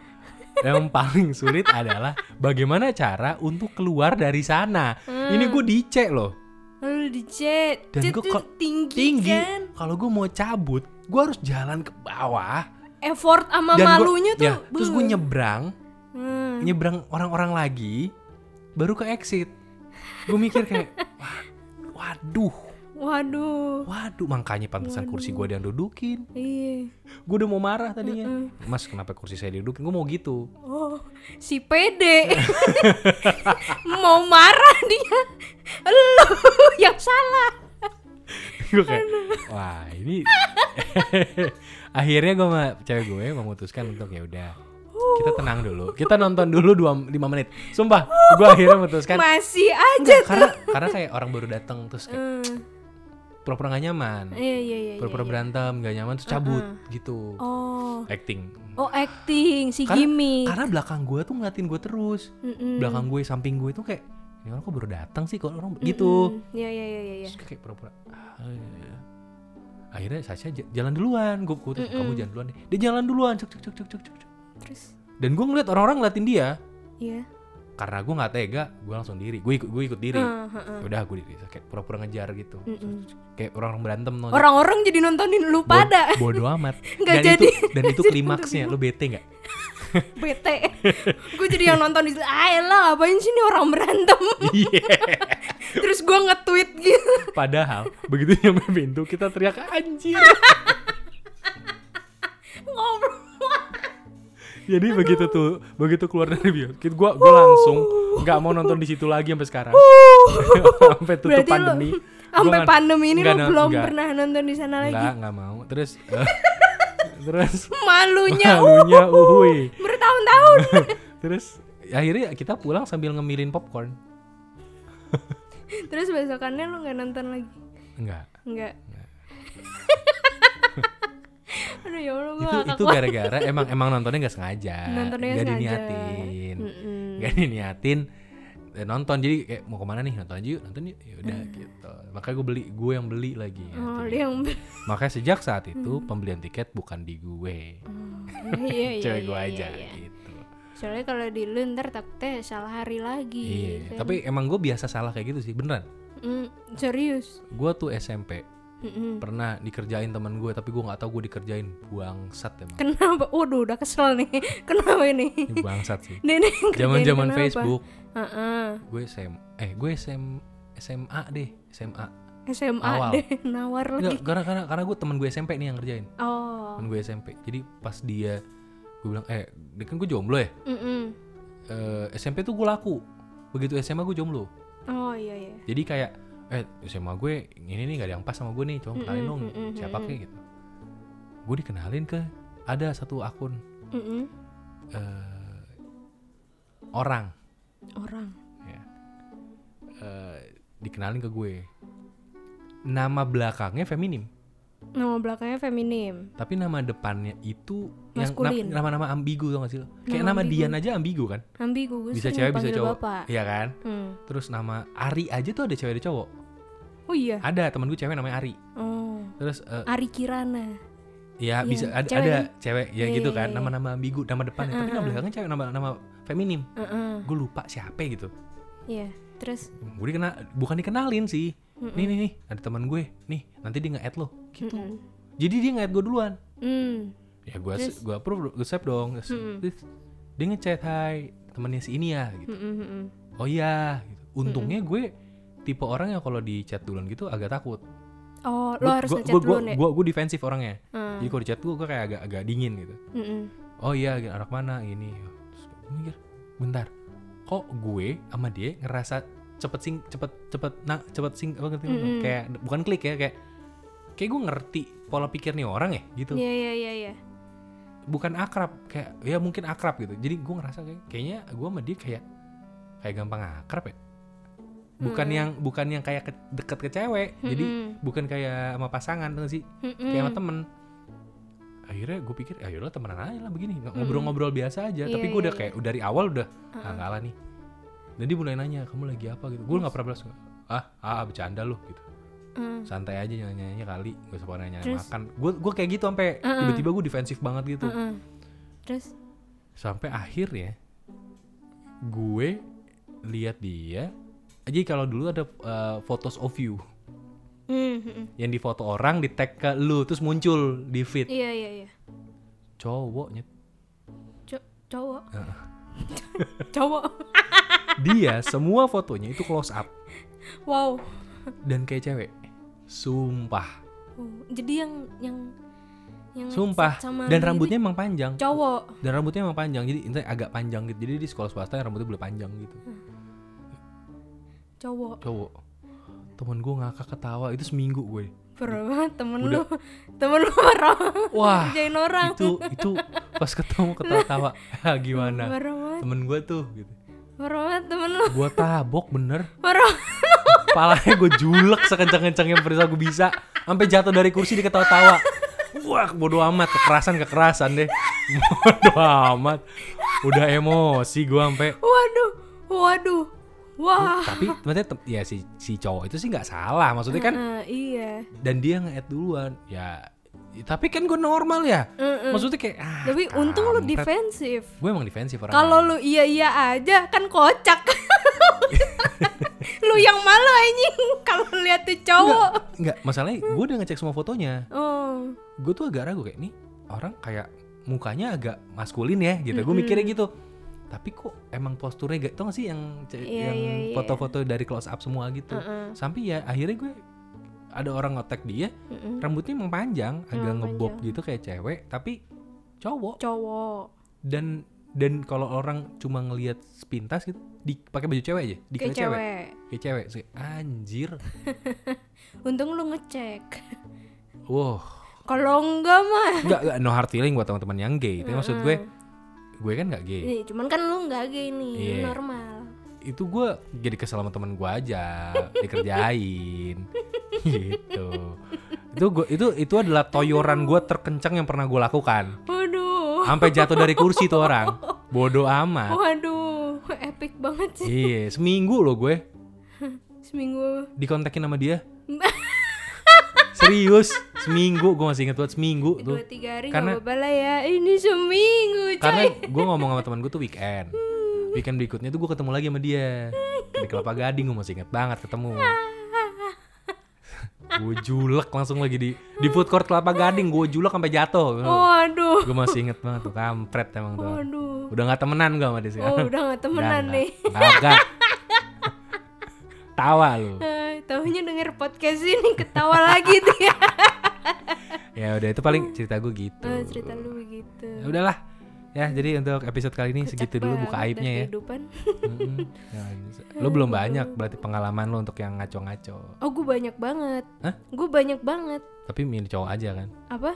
[SPEAKER 2] yang paling sulit adalah bagaimana cara untuk keluar dari sana
[SPEAKER 1] Hmm.
[SPEAKER 2] ini gue dicek loh
[SPEAKER 1] Lalu di chat, chat
[SPEAKER 2] Dan gua
[SPEAKER 1] tuh
[SPEAKER 2] kok-
[SPEAKER 1] tinggi,
[SPEAKER 2] tinggi
[SPEAKER 1] kan.
[SPEAKER 2] kalau gue mau cabut gue harus jalan ke bawah
[SPEAKER 1] Effort sama
[SPEAKER 2] gua-
[SPEAKER 1] malunya tuh.
[SPEAKER 2] ya, terus gue
[SPEAKER 1] beuh.
[SPEAKER 2] nyebrang
[SPEAKER 1] Hmm.
[SPEAKER 2] nyebrang orang-orang lagi baru ke exit gue mikir kayak "Wah, waduh
[SPEAKER 1] Waduh.
[SPEAKER 2] waduh makanya pantesan kursi gue yang dudukin
[SPEAKER 1] Iya.
[SPEAKER 2] gue udah mau marah tadinya mas kenapa kursi saya didudukin gue mau gitu *laughs*
[SPEAKER 1] Oh, si pede. Mau marah dia. Lu yang salah.
[SPEAKER 2] gue kayak wah ini *laughs* akhirnya gue sama cewek gue memutuskan untuk ya udah kita
[SPEAKER 1] Uh.
[SPEAKER 2] tenang dulu kita nonton dulu dua lima menit sumpah gue akhirnya memutuskan
[SPEAKER 1] Masih aja.
[SPEAKER 2] Kan- enggak, karena karena kayak orang baru datang terus kayak
[SPEAKER 1] Hmm.
[SPEAKER 2] pura-pura gak nyaman
[SPEAKER 1] Iya, iya, iya. iya.
[SPEAKER 2] pura-pura berantem gak nyaman terus cabut gitu
[SPEAKER 1] Oh.
[SPEAKER 2] acting
[SPEAKER 1] Oh, acting si
[SPEAKER 2] Karena-
[SPEAKER 1] Jimmy.
[SPEAKER 2] karena belakang gue tuh ngeliatin gue terus
[SPEAKER 1] Mm-mm.
[SPEAKER 2] belakang gue samping gue tuh kayak ini orang kok baru datang sih kalau orang gitu
[SPEAKER 1] Mm-mm. Iya, iya, iya, iya, iya.
[SPEAKER 2] terus kayak pura-pura "Ah, iya, iya." akhirnya Sasha j- jalan duluan gue gue tuh,
[SPEAKER 1] Hmm,
[SPEAKER 2] kamu jalan duluan deh dia jalan duluan cek cek cek cek cek cek cek.
[SPEAKER 1] Terus
[SPEAKER 2] dan gue ngeliat orang-orang ngeliatin dia
[SPEAKER 1] iya.
[SPEAKER 2] karena gue nggak tega gue langsung diri gue ikut gue ikut diri Ya
[SPEAKER 1] Ah, ah, ah.
[SPEAKER 2] udah gue diri Terus kayak pura-pura ngejar gitu
[SPEAKER 1] Mm-mm.
[SPEAKER 2] kayak orang-orang berantem no.
[SPEAKER 1] Orang-orang jadi nontonin lu
[SPEAKER 2] Bod- *laughs*
[SPEAKER 1] pada
[SPEAKER 2] bodo amat
[SPEAKER 1] *laughs* Nggak
[SPEAKER 2] dan
[SPEAKER 1] *laughs*
[SPEAKER 2] itu
[SPEAKER 1] jadi.
[SPEAKER 2] dan itu klimaksnya lu bete
[SPEAKER 1] *laughs*
[SPEAKER 2] nggak
[SPEAKER 1] bete. gue jadi yang nonton di situ. Ah, elah, ngapain sih nih orang berantem?
[SPEAKER 2] Iya.
[SPEAKER 1] *laughs* Terus gue nge-tweet gitu.
[SPEAKER 2] padahal begitu nyampe pintu kita teriak anjir
[SPEAKER 1] Ngobrol.
[SPEAKER 2] Jadi begitu tuh, begitu keluar dari bioskop, gua gua langsung nggak mau nonton di situ lagi sampai sekarang. sampai tutup
[SPEAKER 1] Berarti lu-
[SPEAKER 2] pandemi. Gua
[SPEAKER 1] *laughs* sampai
[SPEAKER 2] nggak-
[SPEAKER 1] pandemi ini
[SPEAKER 2] nggak
[SPEAKER 1] lu
[SPEAKER 2] no-
[SPEAKER 1] belum
[SPEAKER 2] nggak,
[SPEAKER 1] pernah nonton di sana lagi.
[SPEAKER 2] Nggak, nggak mau. Terus eh, *laughs* terus
[SPEAKER 1] Malunya,
[SPEAKER 2] *laughs* malunya, uhuy.
[SPEAKER 1] uh,
[SPEAKER 2] *laughs*
[SPEAKER 1] bertahun-tahun.
[SPEAKER 2] terus akhirnya kita pulang sambil ngemilin popcorn.
[SPEAKER 1] Terus besokannya lu nggak nonton lagi.
[SPEAKER 2] Enggak.
[SPEAKER 1] Enggak. *laughs* Aduh ya Allah gue
[SPEAKER 2] Itu itu gara-gara emang emang nontonnya nggak sengaja.
[SPEAKER 1] Nontonnya
[SPEAKER 2] nggak
[SPEAKER 1] sengaja.
[SPEAKER 2] diniatin.
[SPEAKER 1] Mm-mm.
[SPEAKER 2] Nggak diniatin eh, nonton jadi kayak mau kemana nih nonton aja yuk nonton yuk ya udah gitu makanya gue beli gue yang beli lagi
[SPEAKER 1] Mm. Oh,
[SPEAKER 2] nanti.
[SPEAKER 1] dia yang
[SPEAKER 2] Makanya sejak saat itu pembelian tiket bukan di gue,
[SPEAKER 1] Hmm. *laughs* iya, iya,
[SPEAKER 2] cewek
[SPEAKER 1] iya,
[SPEAKER 2] gue
[SPEAKER 1] iya,
[SPEAKER 2] aja
[SPEAKER 1] iya.
[SPEAKER 2] gitu.
[SPEAKER 1] Soalnya kalau di lu ntar takutnya salah hari lagi.
[SPEAKER 2] Iya,
[SPEAKER 1] kan.
[SPEAKER 2] tapi emang gue biasa salah kayak gitu sih, beneran.
[SPEAKER 1] Mm, serius.
[SPEAKER 2] Gue tuh SMP
[SPEAKER 1] Hmm. Mm-mm.
[SPEAKER 2] pernah dikerjain teman gue, tapi gue nggak tahu gue dikerjain bangsat emang.
[SPEAKER 1] Kenapa? Waduh, udah kesel nih. *laughs* Kenapa ini?
[SPEAKER 2] *laughs* Ini bangsat
[SPEAKER 1] *laughs*
[SPEAKER 2] sih.
[SPEAKER 1] Nenek
[SPEAKER 2] Zaman zaman
[SPEAKER 1] kerjain kenapa?
[SPEAKER 2] Facebook,
[SPEAKER 1] Heeh.
[SPEAKER 2] gue SM, eh gue SM SMA deh, SMA.
[SPEAKER 1] SMA
[SPEAKER 2] Awal.
[SPEAKER 1] deh nawar lagi.
[SPEAKER 2] Enggak, karena karena karena gue teman gue SMP nih yang ngerjain,
[SPEAKER 1] Oh.
[SPEAKER 2] temen gue SMP. Jadi pas dia gue bilang, eh, dia kan gue jomblo ya.
[SPEAKER 1] Mm-mm.
[SPEAKER 2] Eh, SMP tuh gue laku, begitu SMA gue jomblo.
[SPEAKER 1] Oh iya iya.
[SPEAKER 2] jadi kayak eh SMA gue ini nih gak ada yang pas sama gue nih coba kenalin dong
[SPEAKER 1] mm-mm,
[SPEAKER 2] siapa kek gitu gue dikenalin ke ada satu akun
[SPEAKER 1] Mm-mm.
[SPEAKER 2] eh, orang
[SPEAKER 1] Orang.
[SPEAKER 2] eh, dikenalin ke gue nama belakangnya feminim
[SPEAKER 1] Nama belakangnya feminim.
[SPEAKER 2] tapi nama depannya itu yang na-
[SPEAKER 1] Maskulin.
[SPEAKER 2] nama-nama ambigu tau gak sih lo kayak
[SPEAKER 1] Nama
[SPEAKER 2] nama,
[SPEAKER 1] ambigu.
[SPEAKER 2] Dian aja ambigu kan
[SPEAKER 1] Ambigu gue
[SPEAKER 2] bisa
[SPEAKER 1] sering
[SPEAKER 2] cewek bisa
[SPEAKER 1] dipanggil
[SPEAKER 2] cowok
[SPEAKER 1] Bapak.
[SPEAKER 2] iya kan
[SPEAKER 1] Hmm.
[SPEAKER 2] terus nama Ari aja tuh ada cewek ada cowok
[SPEAKER 1] Oh iya.
[SPEAKER 2] ada temen gue cewek namanya Ari
[SPEAKER 1] Oh.
[SPEAKER 2] terus eh,
[SPEAKER 1] Ari Kirana.
[SPEAKER 2] Ya
[SPEAKER 1] Iya,
[SPEAKER 2] bisa ada
[SPEAKER 1] cewek
[SPEAKER 2] ada
[SPEAKER 1] kan?
[SPEAKER 2] cewek ya
[SPEAKER 1] Iya,
[SPEAKER 2] gitu
[SPEAKER 1] iya,
[SPEAKER 2] kan
[SPEAKER 1] iya.
[SPEAKER 2] nama-nama ambigu nama depannya tapi nama belakangnya cewek nama nama feminim
[SPEAKER 1] Heeh.
[SPEAKER 2] gue lupa siapa gitu
[SPEAKER 1] Iya. Terus
[SPEAKER 2] gue dikenal bukan dikenalin sih nih nih nih ada teman gue nih nanti dia nge-add lo gitu jadi dia nge-add gue duluan
[SPEAKER 1] hmm.
[SPEAKER 2] ya gue gue approve gue save dong Terus- terus dia ngechat hai temennya si ini ya gitu
[SPEAKER 1] Mm-mm, mm-mm.
[SPEAKER 2] oh iya gitu. untungnya gue tipe orang yang kalau di chat duluan gitu agak takut
[SPEAKER 1] Oh, lo
[SPEAKER 2] Gue-
[SPEAKER 1] harus
[SPEAKER 2] gue-
[SPEAKER 1] ngechat
[SPEAKER 2] gue-
[SPEAKER 1] dulu
[SPEAKER 2] gue-
[SPEAKER 1] nih.
[SPEAKER 2] gue gue defensif orangnya
[SPEAKER 1] Hmm.
[SPEAKER 2] jadi kalau di chat gue gue kayak agak agak dingin gitu
[SPEAKER 1] Mm-mm.
[SPEAKER 2] oh iya gitu, arah mana ini Terus gue mikir bentar kok gue sama dia ngerasa cepet sing cepet cepet nah cepet sing apa ngerti nggak?
[SPEAKER 1] Mm-mm.
[SPEAKER 2] kayak bukan klik ya kayak kayak gue ngerti pola pikir nih orang ya gitu
[SPEAKER 1] Iya iya iya iya.
[SPEAKER 2] bukan akrab kayak ya mungkin akrab gitu jadi gue ngerasa kayak kayaknya gue sama dia kayak kayak gampang akrab ya bukan yang bukan yang kayak ke- deket ke cewek jadi
[SPEAKER 1] Mm-mm.
[SPEAKER 2] bukan kayak sama pasangan tuh sih
[SPEAKER 1] Mm-mm.
[SPEAKER 2] kayak sama temen akhirnya gue pikir ayo lah temenan aja lah begini nggak ngobrol-ngobrol biasa aja
[SPEAKER 1] Iya,
[SPEAKER 2] tapi gue
[SPEAKER 1] Hmm. iya,
[SPEAKER 2] udah kayak dari awal udah ah nggak lah nih dan dia mulai nanya kamu lagi apa gitu gue nggak pernah balas ah ah bercanda lu gitu
[SPEAKER 1] Mm.
[SPEAKER 2] santai aja nyanyi-nyanyi kali gak usah nanya
[SPEAKER 1] Terus?
[SPEAKER 2] makan gue gue kayak gitu sampai tiba-tiba gue defensif banget gitu
[SPEAKER 1] Mm-mm. hmm, Terus
[SPEAKER 2] sampai akhirnya gue lihat dia aja kalau dulu ada uh, photos of you
[SPEAKER 1] Mm, mm-mm.
[SPEAKER 2] yang di foto orang di tag ke lu terus muncul di feed
[SPEAKER 1] Iya iya iya.
[SPEAKER 2] cowoknya
[SPEAKER 1] Co- cowok.
[SPEAKER 2] Ah.
[SPEAKER 1] *laughs* cowok.
[SPEAKER 2] dia semua fotonya itu close up
[SPEAKER 1] Wow.
[SPEAKER 2] dan kayak cewek sumpah
[SPEAKER 1] Oh, Jadi yang yang yang
[SPEAKER 2] sumpah
[SPEAKER 1] sama
[SPEAKER 2] dan
[SPEAKER 1] dia
[SPEAKER 2] rambutnya emang panjang
[SPEAKER 1] itu cowok.
[SPEAKER 2] dan rambutnya emang panjang jadi intinya agak panjang gitu jadi di sekolah swasta yang rambutnya boleh panjang gitu
[SPEAKER 1] Cowok.
[SPEAKER 2] cowok temen gue ngakak ketawa itu seminggu gue
[SPEAKER 1] Parah banget temen
[SPEAKER 2] Udah.
[SPEAKER 1] lu. *laughs* Temen lu parah.
[SPEAKER 2] wah
[SPEAKER 1] Jain orang.
[SPEAKER 2] itu itu pas ketemu ketawa-tawa Hah, *laughs* gimana
[SPEAKER 1] Parah banget.
[SPEAKER 2] temen gue tuh gitu
[SPEAKER 1] Parah banget temen lu.
[SPEAKER 2] gue tabok bener
[SPEAKER 1] Parah.
[SPEAKER 2] kepalanya gue julek sekencang-kencangnya perisa gue bisa sampai jatuh dari kursi diketawa-tawa wah bodo amat kekerasan kekerasan deh bodo amat udah emosi gue sampai
[SPEAKER 1] Waduh. Waduh. Wah.
[SPEAKER 2] tapi maksudnya tem- ya si si cowok itu sih nggak salah maksudnya kan
[SPEAKER 1] Eh, iya.
[SPEAKER 2] dan dia nge-add duluan ya tapi kan gue normal ya
[SPEAKER 1] Mm-mm.
[SPEAKER 2] maksudnya kayak ah,
[SPEAKER 1] Mm. Tapi untung lu
[SPEAKER 2] kampret.
[SPEAKER 1] defensif.
[SPEAKER 2] gue emang defensif orang
[SPEAKER 1] Kalau lu iya iya aja kan kocak.
[SPEAKER 2] *laughs*
[SPEAKER 1] lu yang malu anjing kalau lihat tuh cowok.
[SPEAKER 2] Enggak, masalahnya gue udah ngecek semua fotonya
[SPEAKER 1] Oh.
[SPEAKER 2] Gue tuh agak ragu kayak nih Orang kayak mukanya agak maskulin ya gitu Gue mikirnya gitu Tapi kok emang posturnya gak Tau gak sih yang ce-
[SPEAKER 1] Iya,
[SPEAKER 2] yang
[SPEAKER 1] iya, iya.
[SPEAKER 2] foto-foto dari close up semua gitu
[SPEAKER 1] Heeh.
[SPEAKER 2] Sampai ya akhirnya gue Ada orang ngotek dia
[SPEAKER 1] Mm-mm.
[SPEAKER 2] Rambutnya emang panjang Agak
[SPEAKER 1] Emang
[SPEAKER 2] ngebob
[SPEAKER 1] panjang.
[SPEAKER 2] gitu kayak cewek Tapi cowok
[SPEAKER 1] Cowok.
[SPEAKER 2] Dan dan kalau orang cuma ngelihat sepintas gitu di pakai baju cewek aja dikira
[SPEAKER 1] Kayak
[SPEAKER 2] cewek.
[SPEAKER 1] cewek.
[SPEAKER 2] kayak cewek Terus kayak, anjir
[SPEAKER 1] Untung lu ngecek. *laughs*
[SPEAKER 2] wow *laughs*
[SPEAKER 1] Kalau enggak mah.
[SPEAKER 2] Enggak, enggak, no hard feeling buat teman-teman yang gay. Tapi maksud gue, gue kan gak gay.
[SPEAKER 1] Nih, cuman kan lu enggak gay nih, lu
[SPEAKER 2] Iya.
[SPEAKER 1] normal.
[SPEAKER 2] Itu gue jadi kesel sama temen gue aja, dikerjain. gitu. Itu gue itu itu adalah toyoran gue terkencang yang pernah gue lakukan.
[SPEAKER 1] Waduh.
[SPEAKER 2] Sampai jatuh dari kursi tuh orang. Bodoh amat.
[SPEAKER 1] Waduh, *laughs* epic banget sih
[SPEAKER 2] Iya, seminggu loh gue
[SPEAKER 1] seminggu.
[SPEAKER 2] dikontakin sama dia. Serius, seminggu gue masih inget banget seminggu tuh.
[SPEAKER 1] Dua tiga hari
[SPEAKER 2] Karena-
[SPEAKER 1] nggak apa-apa lah ya. Ini seminggu, coy.
[SPEAKER 2] Karena gue ngomong sama temen gue tuh weekend Weekend berikutnya tuh gue ketemu lagi sama dia Di Kelapa Gading gue masih inget banget ketemu Gue julek langsung lagi di Di food court Kelapa Gading Gue julek sampai jatuh
[SPEAKER 1] Waduh.
[SPEAKER 2] Gue masih inget banget tuh kampret emang tuh
[SPEAKER 1] Waduh.
[SPEAKER 2] Udah gak temenan gue sama dia
[SPEAKER 1] Oh,
[SPEAKER 2] sekarang
[SPEAKER 1] udah gak temenan
[SPEAKER 2] Udah
[SPEAKER 1] nih.
[SPEAKER 2] nggak. Kagak Tawa lu
[SPEAKER 1] Eh, Taunya denger podcast ini ketawa *laughs* lagi dia.
[SPEAKER 2] Ya udah itu paling cerita gue gitu
[SPEAKER 1] Eh, cerita lu begitu.
[SPEAKER 2] Ya Udahlah Ya jadi untuk episode kali ini segitu dulu
[SPEAKER 1] Banget
[SPEAKER 2] buka
[SPEAKER 1] dah
[SPEAKER 2] aibnya ya
[SPEAKER 1] Kehidupan.
[SPEAKER 2] Mm-mm. Ya, lo belum banyak berarti pengalaman lo untuk yang ngaco-ngaco.
[SPEAKER 1] Oh, gue banyak banget.
[SPEAKER 2] Hah?
[SPEAKER 1] Gue banyak banget.
[SPEAKER 2] Tapi milih cowok aja kan.
[SPEAKER 1] Apa?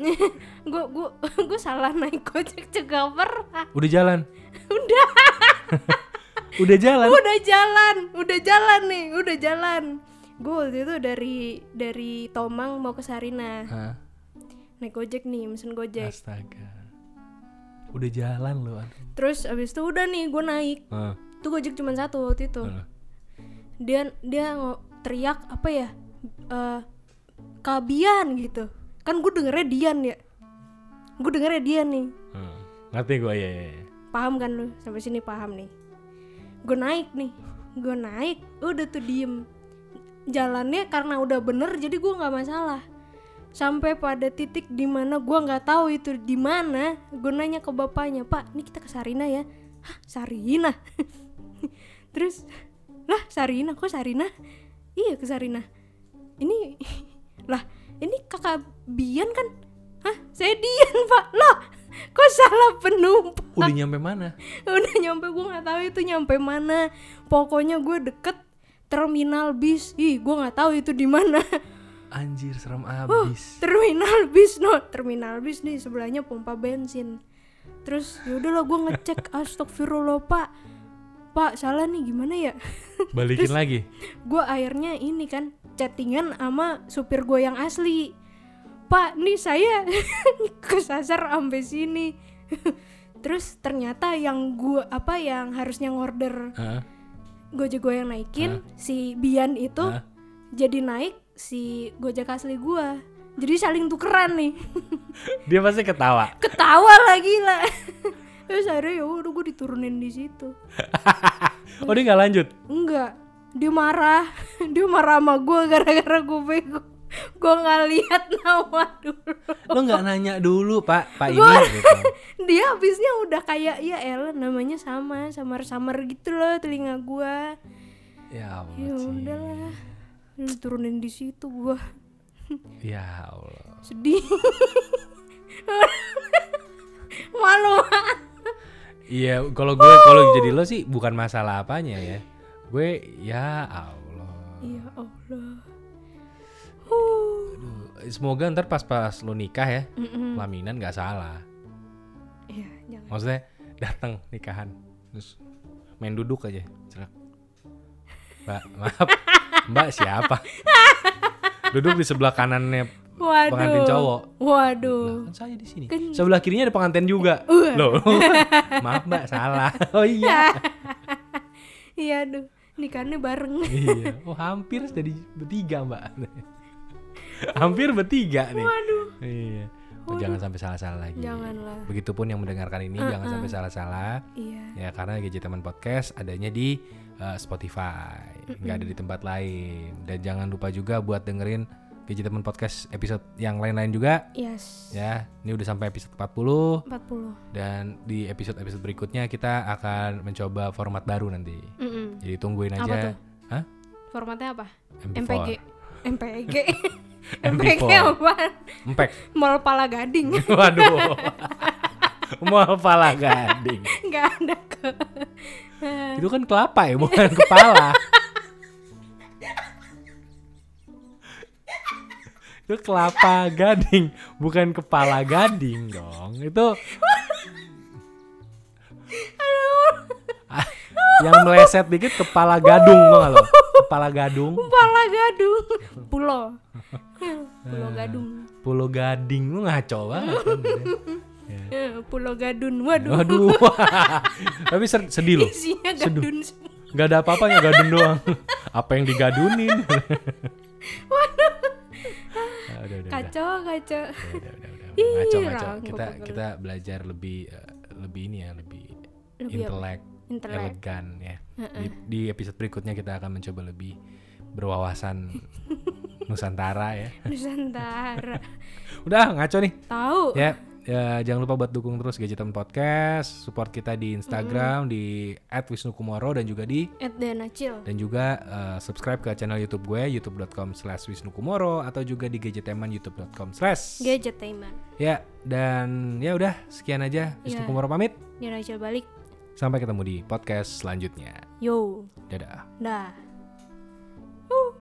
[SPEAKER 1] *laughs* gue *laughs* gue gue salah naik gojek juga pernah.
[SPEAKER 2] Udah jalan.
[SPEAKER 1] Udah.
[SPEAKER 2] Udah jalan.
[SPEAKER 1] udah jalan udah jalan nih udah jalan gue waktu itu dari dari Tomang mau ke Sarina
[SPEAKER 2] Hah,
[SPEAKER 1] naik gojek nih mesen gojek
[SPEAKER 2] astaga. Udah jalan lo. aduh.
[SPEAKER 1] terus abis itu udah nih gue naik
[SPEAKER 2] Hah,
[SPEAKER 1] tuh gojek cuma satu waktu itu
[SPEAKER 2] hah.
[SPEAKER 1] dia dia ngo- teriak apa ya Eh kabian gitu kan gue dengernya Dian ya gue dengernya Dian nih
[SPEAKER 2] Hah. Ngerti gue ya.
[SPEAKER 1] paham kan lu sampai sini paham nih gue naik nih gue naik udah tuh diem jalannya karena udah bener jadi gue nggak masalah sampai pada titik dimana gue nggak tahu itu di mana gue nanya ke bapaknya pak ini kita ke Sarina ya hah Sarina *laughs* terus lah Sarina kok Sarina iya ke Sarina ini *laughs* lah ini kakak Bian kan hah saya Dian pak loh Kok salah penumpang?
[SPEAKER 2] Udah nyampe mana?
[SPEAKER 1] *laughs* Udah nyampe gue nggak tahu itu nyampe mana. Pokoknya gue deket terminal bis. Ih, gue nggak tahu itu di mana.
[SPEAKER 2] Anjir serem abis.
[SPEAKER 1] *laughs* terminal bis no terminal bis nih sebelahnya pompa bensin terus yaudah lah gue ngecek astagfirullah pak pak salah nih gimana ya *laughs*
[SPEAKER 2] Balikin lagi.
[SPEAKER 1] gue akhirnya ini kan chattingan sama supir gue yang asli pak nih saya *laughs* kesasar sampai sini *laughs* terus ternyata yang gue apa yang harusnya ngorder
[SPEAKER 2] Heeh.
[SPEAKER 1] Gojek gue yang naikin si Bian itu
[SPEAKER 2] Hah?
[SPEAKER 1] jadi naik si Gojek asli gue jadi saling tukeran nih *laughs*
[SPEAKER 2] Dia pasti ketawa.
[SPEAKER 1] ketawa lagi lah gila. *laughs* terus akhirnya ya udah gue diturunin di situ
[SPEAKER 2] Oh dia nggak lanjut.
[SPEAKER 1] enggak dia marah *laughs* dia marah sama gue gara-gara gue bego gue nggak lihat nama dulu *laughs*
[SPEAKER 2] Lo nggak nanya dulu pak, pak ini. Gitu.
[SPEAKER 1] dia habisnya udah kayak ya Ellen namanya sama samar-samar gitu loh telinga gue
[SPEAKER 2] Ya Allah.
[SPEAKER 1] ya
[SPEAKER 2] Ci.
[SPEAKER 1] udahlah diturunin di situ gue
[SPEAKER 2] Ya Allah.
[SPEAKER 1] sedih malu
[SPEAKER 2] Iya, kalau gue kalau jadi lo sih bukan masalah apanya ya. Gue ya Allah.
[SPEAKER 1] ya Allah Huh.
[SPEAKER 2] Aduh, Semoga ntar pas-pas lo nikah ya,
[SPEAKER 1] Mm-mm.
[SPEAKER 2] pelaminan nggak salah.
[SPEAKER 1] Iya, jangan.
[SPEAKER 2] Maksudnya datang nikahan terus main duduk aja. cerak. Mbak, maaf. Mbak siapa? duduk di sebelah kanannya
[SPEAKER 1] Waduh.
[SPEAKER 2] pengantin cowok.
[SPEAKER 1] Waduh.
[SPEAKER 2] Lah, kan saya di sini.
[SPEAKER 1] Kan-
[SPEAKER 2] Sebelah kirinya ada pengantin juga. Loh. maaf, Mbak, salah. Oh iya.
[SPEAKER 1] Iya, aduh. Nikahnya
[SPEAKER 2] *laughs*
[SPEAKER 1] bareng.
[SPEAKER 2] iya. Oh, hampir jadi bertiga, Mbak. *laughs* hampir bertiga nih.
[SPEAKER 1] Waduh.
[SPEAKER 2] Iya. Oh, jangan sampai salah-salah lagi.
[SPEAKER 1] Janganlah.
[SPEAKER 2] Begitupun yang mendengarkan ini jangan sampai salah-salah.
[SPEAKER 1] Iya.
[SPEAKER 2] Ya karena gadget Teman Podcast adanya di uh, Spotify, nggak ada di tempat lain. Dan jangan lupa juga buat dengerin gadget Teman Podcast episode yang lain-lain juga.
[SPEAKER 1] Yes.
[SPEAKER 2] Ya, ini udah sampai episode 40
[SPEAKER 1] 40.
[SPEAKER 2] dan di episode-episode berikutnya kita akan mencoba format baru nanti.
[SPEAKER 1] Mm-mm.
[SPEAKER 2] Jadi tungguin
[SPEAKER 1] Mm. Apa
[SPEAKER 2] aja.
[SPEAKER 1] tuh?
[SPEAKER 2] Hah?
[SPEAKER 1] Formatnya apa?
[SPEAKER 2] MP4.
[SPEAKER 1] MPG. *laughs*
[SPEAKER 2] *laughs*
[SPEAKER 1] MPG. MPG
[SPEAKER 2] MP4.
[SPEAKER 1] apa?
[SPEAKER 2] Empek.
[SPEAKER 1] Mall Pala Gading.
[SPEAKER 2] *laughs*
[SPEAKER 1] *laughs*
[SPEAKER 2] Waduh. Mau kepala gading.
[SPEAKER 1] Nggak ada ke. *laughs*
[SPEAKER 2] Itu kan kelapa ya, bukan kepala. itu kelapa gading, bukan kepala gading dong. Itu Ah, yang meleset dikit kepala gadung tau nggak lo? Kepala gadung,
[SPEAKER 1] Pala
[SPEAKER 2] *laughs*
[SPEAKER 1] Gadung. Pulau.
[SPEAKER 2] Ah,
[SPEAKER 1] Pulau Gadung.
[SPEAKER 2] pulau gading lu ngaco banget. kan, gitu.
[SPEAKER 1] Eh, Pulau Gadun. Waduh.
[SPEAKER 2] Waduh, *laughs* tapi ser- sedih loh.
[SPEAKER 1] Isinya
[SPEAKER 2] Seduh. Ya
[SPEAKER 1] gadun semua.
[SPEAKER 2] Gak ada apa-apanya gadun doang. Apa yang digadunin? Ah, udah, udah, udah,
[SPEAKER 1] Kacau, kacau.
[SPEAKER 2] udah, udah, udah.
[SPEAKER 1] Ih,
[SPEAKER 2] Ngaco, ngaco.
[SPEAKER 1] rangkul
[SPEAKER 2] Kita
[SPEAKER 1] pegel.
[SPEAKER 2] kita belajar lebih eh, lebih ini ya, lebih,
[SPEAKER 1] Lebih apa?
[SPEAKER 2] intelek,
[SPEAKER 1] Intelek.
[SPEAKER 2] elegan ya. Di, di episode berikutnya kita akan mencoba lebih
[SPEAKER 1] *laughs*
[SPEAKER 2] berwawasan nusantara ya.
[SPEAKER 1] Nusantara.
[SPEAKER 2] Udah ngaco nih.
[SPEAKER 1] Tahu.
[SPEAKER 2] Ya, ya, jangan lupa buat dukung terus Gadgetan Podcast, support kita di Instagram di @wisnukumoro dan juga di
[SPEAKER 1] At Dana Chill.
[SPEAKER 2] dan juga eh, subscribe ke channel YouTube gue youtube.com slash wisnukumoro atau juga di gadgeteman youtube.com slash
[SPEAKER 1] Gadgetainment.
[SPEAKER 2] ya dan ya udah sekian aja
[SPEAKER 1] Ya.
[SPEAKER 2] Wisnu Kumoro pamit
[SPEAKER 1] Dana Chill balik.
[SPEAKER 2] sampai ketemu di podcast selanjutnya
[SPEAKER 1] Yo.
[SPEAKER 2] dadah
[SPEAKER 1] Dah.